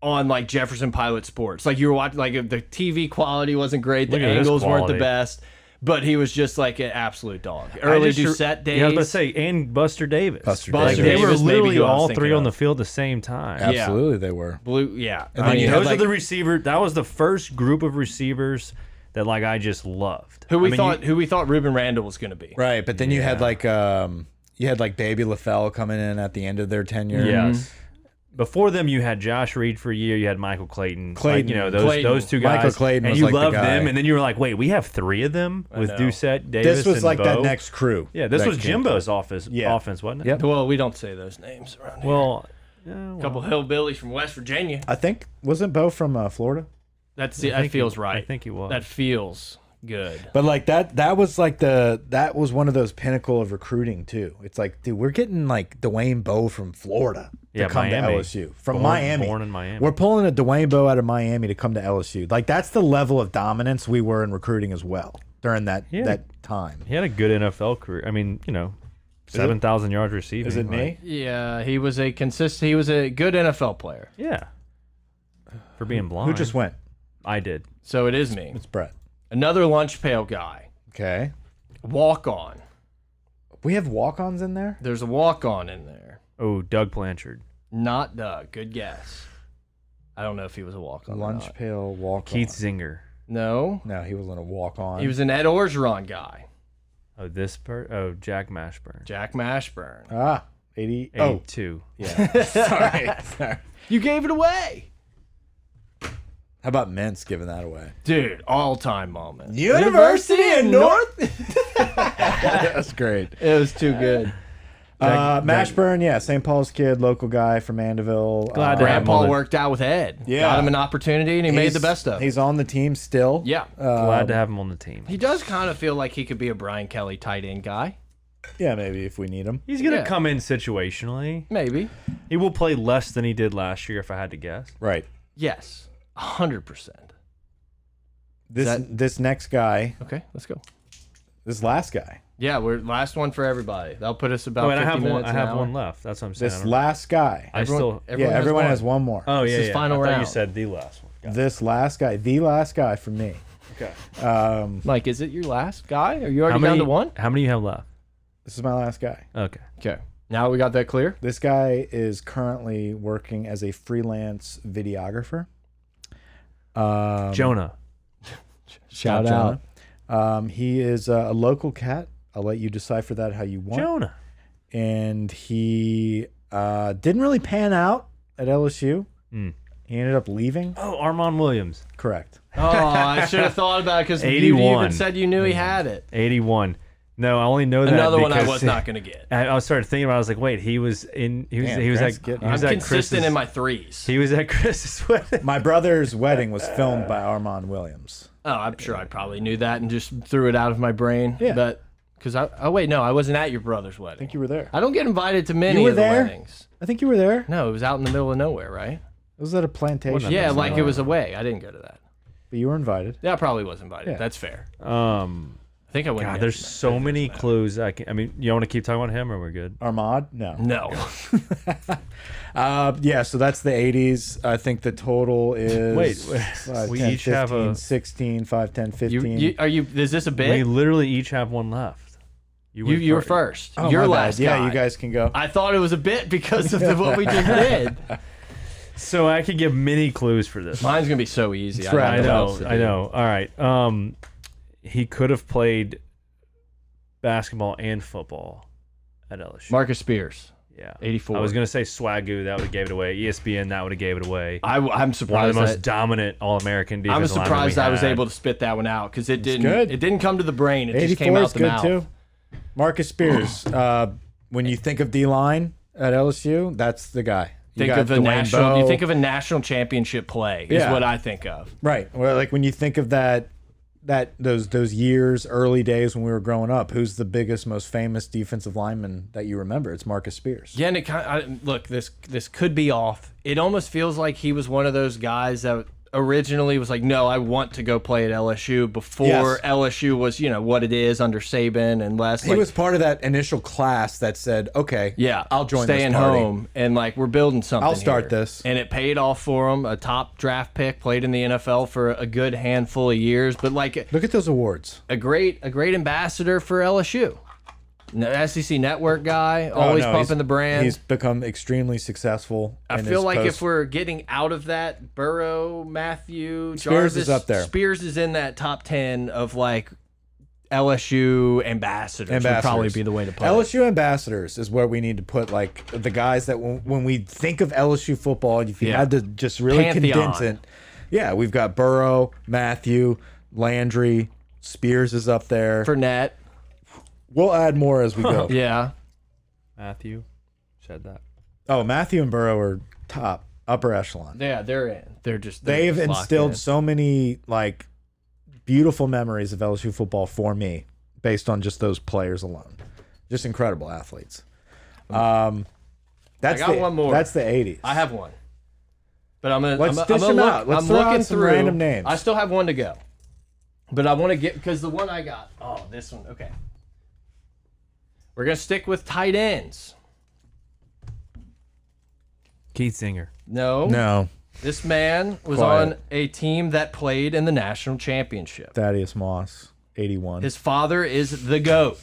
A: on like Jefferson Pilot Sports. Like you were watching, like the TV quality wasn't great, the
C: Look at this
A: angles weren't the
C: quality.
A: best. but he was just like an absolute dog. Early
C: just-
A: Doucette days.
C: Yeah, I was about to say, and Buster Davis.
B: Buster
A: Buster
C: Like,
B: Davis.
C: they were
A: Davis may be
C: literally
A: who I was
C: all
A: thinking
C: three on
A: of.
C: the field at the same time.
A: yeah.
B: Absolutely, they were.
A: blue. Yeah,
B: And
A: I
B: then
A: mean,
B: you
C: Those
B: had,
A: those
C: are
A: like,
C: the receivers. That was the first group of receivers that like I just loved.
A: who
C: I
A: we
C: mean, you-
A: thought who we thought Ruben Randall was going to be.
B: Right, but then you had like um you had like Baby LaFell coming in at the end of their tenure.
C: yes. Before them, you had Josh Reed for a year. You had Michael Clayton.
B: Clayton.
C: like, you know those
A: Clayton.
C: those two guys.
B: Michael Clayton
C: and
B: was
C: you
B: like the
C: loved
B: guy.
C: them, and then you were like, wait, we have three of them with
A: know.
C: Doucette, Davis.
B: This was
C: and
B: like that
C: Bo.
B: next crew.
C: Yeah, this
B: that
C: was
B: came
C: Jimbo's office
B: Yeah.
C: offense, wasn't it?
B: Yep.
A: Well, we don't say those names around here.
C: Well, yeah,
A: A
C: well,
A: couple hillbillies from West Virginia.
B: I think wasn't Bo from uh, Florida?
A: That's the,
C: I
A: that
C: think he-
A: feels right.
C: I think he was.
A: That feels good.
B: But like that that was like the that was one of those pinnacle of recruiting too. It's like, dude, we're getting like Dwayne Bowe from Florida to
C: Yeah,
B: come
C: Miami.
B: to LSU. From
C: Born-
B: Miami.
C: born in Miami.
B: We're pulling a Dwayne Bowe out of Miami to come to LSU. Like that's the level of dominance we were in recruiting as well during that
C: Yeah.
B: that time.
C: He had a good NFL career. I mean, you know, seven thousand yards receiving. like-
A: Yeah, he was a consist. He was a good NFL player.
C: Yeah. For being blind.
B: Who just went?
C: I did.
A: So it is me.
B: It's Brett.
A: Another lunch pail guy.
B: Okay.
A: Walk on.
B: We have walk ons in there?
A: There's a walk on in there.
C: Oh, Doug Blanchard,
A: Not Doug. Good guess. I don't know if he was a walk on.
B: Lunch pail walk
C: Keith Zinger.
A: No,
B: No, he wasn't a walk on.
A: he was an Ed Orgeron guy.
C: Oh, this per. Oh, Jack Mashburn.
A: Jack Mashburn.
B: ah, 80. Oh,
C: Eighty-two.
B: yeah. sorry. sorry.
A: You gave it away,
B: How about Mints giving that away?
A: dude. All time moment.
B: University of North- That's great.
A: it was too good.
B: Uh, Mashburn, yeah, St. Paul's kid, local guy from Mandeville.
C: Glad
B: uh,
C: to have
A: Grandpa
C: Mother-
A: worked out with Ed.
B: Yeah.
A: got him an opportunity, and he made
B: he's-
A: the best of. it.
B: He's on the team still.
A: Yeah.
B: Uh,
C: Glad to have him on the team.
A: He does kind of feel like he could be a Brian Kelly tight end guy.
B: yeah, maybe if we need him.
C: He's gonna
A: Yeah.
C: come in situationally.
A: Maybe.
C: He will play less than he did last year, if I had to guess.
B: Right.
A: Yes. 100%.
B: This
A: That-
B: this next guy,
A: Okay, let's go.
B: this last guy,
A: Yeah, we're last one for everybody. That'll put us about
C: Oh, and I
A: 50
C: have one.
A: minutes
C: I
A: an
C: have
A: hour.
C: one left. That's what I'm saying. I
B: this
C: don't-
B: last guy.
C: I still.
B: yeah, everyone has one, more.
C: Oh
A: This
C: yeah,
A: is
C: yeah.
A: final
C: I thought You
A: round.
C: said the last one. Got it.
B: This last guy, the last guy for me.
A: Mike, is it your last guy? Are you
C: How
A: already down
C: many?
A: to one?
C: How many you have left?
B: This is my last guy.
C: Okay.
A: Okay. Now we got that clear?
B: This guy is currently working as a freelance videographer. Um,
C: Jonah.
A: Shout
B: Jonah. Um, he is a, a local cat. I'll let you decipher that how you want.
C: Jonah.
B: And he uh, didn't really pan out at LSU.
A: Hmm.
C: Mm.
B: He ended up leaving.
C: Oh, Armand Williams.
B: Correct.
A: Oh, I should have thought about it because you
C: 81.
A: even said you knew he had it.
C: 81. No, I only know that
A: Another one I
C: because-
A: was not going to get.
C: I, I started thinking about. it. I was like, wait, he was in. He was.
B: Man,
C: he was
B: Grant's
C: at.
B: getting-
C: he
A: I'm
C: was at Chris's,
A: consistent in my threes.
C: He was at Chris's wedding.
B: My brother's wedding was filmed by Armand Williams.
A: Oh, I'm sure I probably knew that and just threw it out of my brain.
B: Yeah.
A: But because I, oh, wait, no, I wasn't at your brother's
B: I
A: wedding.
B: think you were there.
A: I don't get invited to many
B: You were
A: of the
B: there?
A: weddings.
B: I think you were there.
A: No, it was out in the middle of nowhere, right?
B: It was at a plantation.
C: Wasn't
A: Yeah,
C: that's
A: like
C: not
A: it was away. I didn't go to that.
B: But you were invited.
A: Yeah, I probably was invited.
B: Yeah.
A: That's fair.
C: Um,
A: I think I went.
C: God,
A: against
C: there's so many clues. I can. I mean, you want to keep talking about him, or we're good?
B: Armand? No.
A: them. no.
B: Uh, yeah, so that's the 80s. I think the total is
C: Wait, wait.
B: 5,
C: We
B: 10,
C: each have
B: 15,
C: a-
B: 16, 5, 10,
A: You,
B: 15.
A: you are you? Is this a
C: We
A: bit?
C: literally each have one left.
A: You you were
C: fir-
A: first.
B: Oh,
A: Your
B: my bad.
A: last
B: Yeah,
A: guy.
B: you guys can go.
A: I thought it was a bit because of the, what we just did.
C: So I could give many clues for this.
A: Mine's gonna be so easy.
B: That's right.
C: I
B: What
C: know.
A: else to
C: I
A: do.
C: know. All right. Um, he could have played basketball and football at LSU.
A: Marcus Spears,
C: yeah,
A: 84.
C: I was gonna say Swagoo. That would have gave it away. E ESPN. That would have gave it away.
A: I, am
C: One of
A: surprised.
C: the most
A: that-
C: dominant All American
A: I
C: defensive
A: was
C: linemen we
A: surprised I was
C: had.
A: able to spit that one out because it didn't.
B: good.
A: It didn't come to the brain. It just came
B: 84
A: out
B: is
A: the
B: good
A: mouth.
B: too. Marcus Spears. uh, when you think of D line at LSU, that's the guy. You
A: Think
B: got
A: of a
B: Dwayne
A: national. You
B: Bowe.
A: think of a national championship play is
B: Yeah.
A: what I think of.
B: right. Well, like when you think of that, that those those years, early days when we were growing up, who's the biggest, most famous defensive lineman that you remember? It's Marcus Spears.
A: Yeah, and it kind I, look this this could be off. It almost feels like he was one of those guys that originally was like, no, I want to go play at LSU before
B: Yes.
A: LSU was, you know, what it is under Saban and West.
B: He
A: like,
B: was part of that initial class that said, "Okay,
A: yeah,
B: I'll join this
A: Staying
B: party.
A: home and like we're building something.
B: I'll start
A: here.
B: this.
A: and it paid off for him. A top draft pick, played in the NFL for a good handful of years, but like
B: Look at those awards.
A: a great a great ambassador for LSU. No, SEC E Network guy, always
B: Oh, no,
A: pumping
B: he's-
A: the brand.
B: He's become extremely successful.
A: I
B: in
A: feel
B: his
A: like
B: post-
A: if we're getting out of that, Burrow, Matthew,
B: Spears
A: Jarvis,
B: is up there.
A: Spears is in that top ten of like LSU ambassadors. Would probably
B: Ambassadors.
A: be the way to play. it.
B: LSU ambassadors is where we need to put like the guys that when, when we think of LSU football, if you
A: Yeah.
B: had to just really
A: Pantheon.
B: condense it, yeah, we've got Burrow, Matthew, Landry, Spears is up there.
A: Fournette,
B: we'll add more as we go.
A: yeah,
C: Matthew said that.
B: Oh, Matthew and Burrow are top upper echelon.
A: yeah, they're in. They're just they're
B: They've
A: just locked
B: instilled
A: in.
B: so many like beautiful memories of LSU football for me, based on just those players alone. Just incredible athletes. Um, that's
A: I got
B: the,
A: one more.
B: That's the '80s.
A: I have one, but I'm gonna
B: Let's
A: I'm,
B: dish
A: I'm gonna
B: them
A: look,
B: out. Let's
A: I'm
B: throw out
A: looking
B: some
A: through
B: random names.
A: I still have one to go, but I want to get because the one I got. Oh, this one. Okay, we're gonna stick with tight ends.
C: Keith Singer.
B: no
A: This man was
B: Quiet.
A: on a team that played in the national championship.
B: Thaddeus Moss, '81.
A: His father is the GOAT.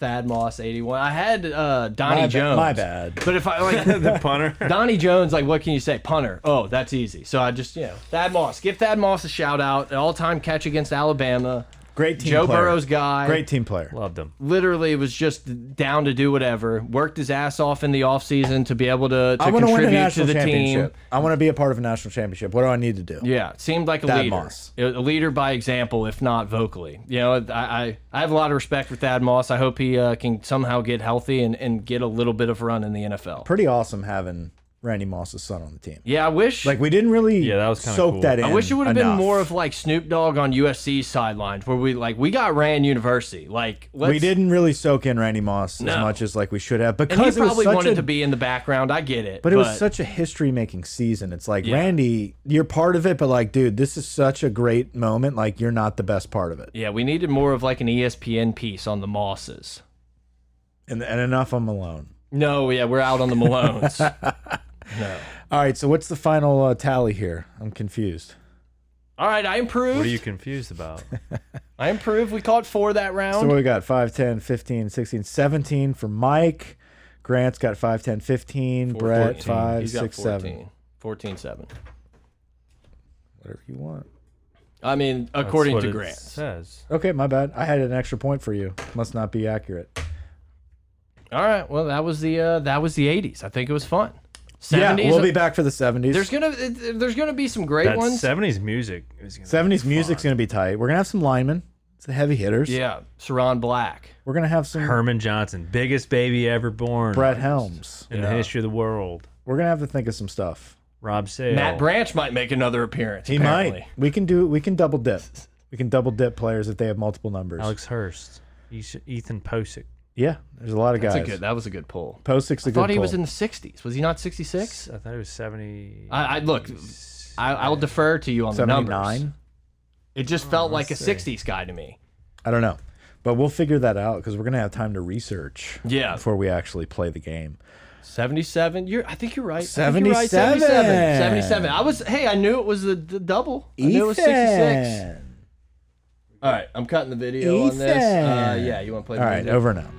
A: Thad Moss, 81. I had uh, Donnie
B: my, ba-
A: Jones.
B: my bad.
A: But if I like
C: The punter.
A: Donnie Jones, like, what can you say? Punter. Oh, that's easy. So I just, you know, Thad Moss. Give Thad Moss a shout out. An all time catch against Alabama.
B: Great team
A: Joe
B: player.
A: Burrow's guy.
B: Great team player.
C: Loved him.
A: Literally was just down to do whatever. Worked his ass off in the offseason to be able to, to
B: I want to win
A: contribute to
B: a national
A: the team.
B: championship. I want to be a part of a national championship. What do I need to do?
A: Yeah, it seemed like a
B: Thad
A: leader,
B: Moss.
A: a a leader by example, if not vocally. You know, I, I, I have a lot of respect for Thad Moss. I hope he uh, can somehow get healthy and, and get a little bit of run in the NFL.
B: Pretty awesome having Randy Moss's son on the team.
A: Yeah, I wish.
B: Like we didn't really
C: Yeah, that was kinda
B: soak
C: cool.
B: that in.
A: I wish it would have been
B: enough.
A: more of like Snoop Dogg on USC sidelines, where we like we got Rand University. Like let's,
B: we didn't really soak in Randy Moss as
A: No.
B: much as like we should have
A: And he
B: because it was
A: probably
B: such
A: wanted
B: a,
A: to be in the background. I get it,
B: but it was such a history making season. It's like Randy, you're part of it, but like, dude, this is such a great moment. Like, you're not the best part of it,
A: yeah, we needed more of like an E ESPN piece on the Mosses.
B: and and enough. I'm alone.
A: No, yeah, we're out on the Malones.
B: All right, so what's the final uh, tally here? I'm confused.
A: All right, I improved.
C: What are you confused about?
A: I improved. We caught four that round.
B: So what we got 5, 10, 15, 16, 17 for Mike. Grant's got 5, 10, 15. Brett,
A: 14.
B: 5,
A: He's got
B: 6, 7.
A: 14. 14 7.
B: Whatever you want.
A: I mean,
C: That's
A: according
C: what
A: to
C: it
A: Grant.
C: says.
B: Okay, my bad. I had an extra point for you. Must not be accurate.
A: All right. Well, that was the uh, that was the 80s. I think it was fun. 70s.
B: Yeah, we'll be back for the 70s.
A: there's gonna it- there's gonna be some great
C: That
A: ones.
C: 70s music. is gonna be
B: 70s music's going to be tight. We're going to have some linemen, some heavy hitters.
A: Yeah, Saran Black.
B: We're going to have some
C: Herman Johnson, biggest baby ever born
B: Brett Helms.
C: in the history of the world.
B: We're going to have to think of some stuff.
C: Rob Sale.
A: Matt Branch might make another appearance.
B: He
A: apparently.
B: might. We can do we can double dip. We can double dip players if they have multiple numbers.
C: Alex Hurst. Esh- Ethan Posick.
B: Yeah, there's a lot of
A: That's
B: guys.
A: a good. That was a good pull.
B: Postic's a
A: I
B: good
A: thought he was
B: pull.
A: in the 60s. Was he not 66?
C: I thought it was 70.
A: I, I look. I, I'll defer to you on the numbers.
B: 79.
A: It just felt like a 60s guy to me.
B: I don't know. But we'll figure that out because we're gonna have time to research
A: Yeah.
B: before we actually play the game.
A: 77. You're, I think you're right. I think you're right.
B: 77.
A: 77. 77. I was, hey, I knew it was the, the double. I knew it was 66. All right, I'm cutting the video on this. Uh,
B: Ethan.
A: yeah, you want to play
B: All right,
A: music?
B: over and out.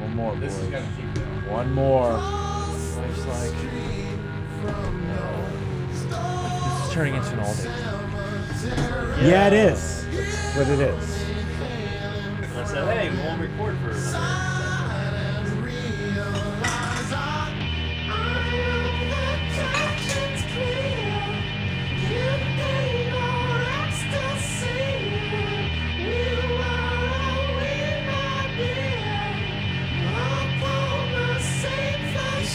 B: One more, boys. One more.
C: This is turning into an all day.
B: Yeah, it is. That's what it is.
C: I said, hey, we'll record for.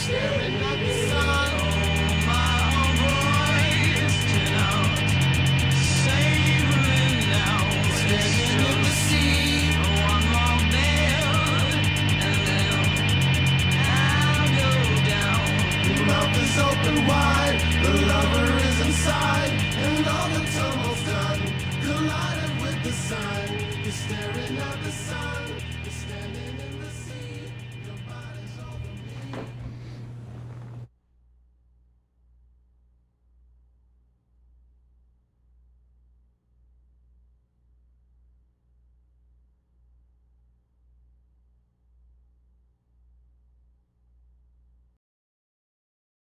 D: Staring at the sun, my voice tonight. Savoring now, staying in the sea. Oh, I'm all dead. and wide. The lover is inside, and all the tumult's done. Collided with the sign, you're staring at the sign.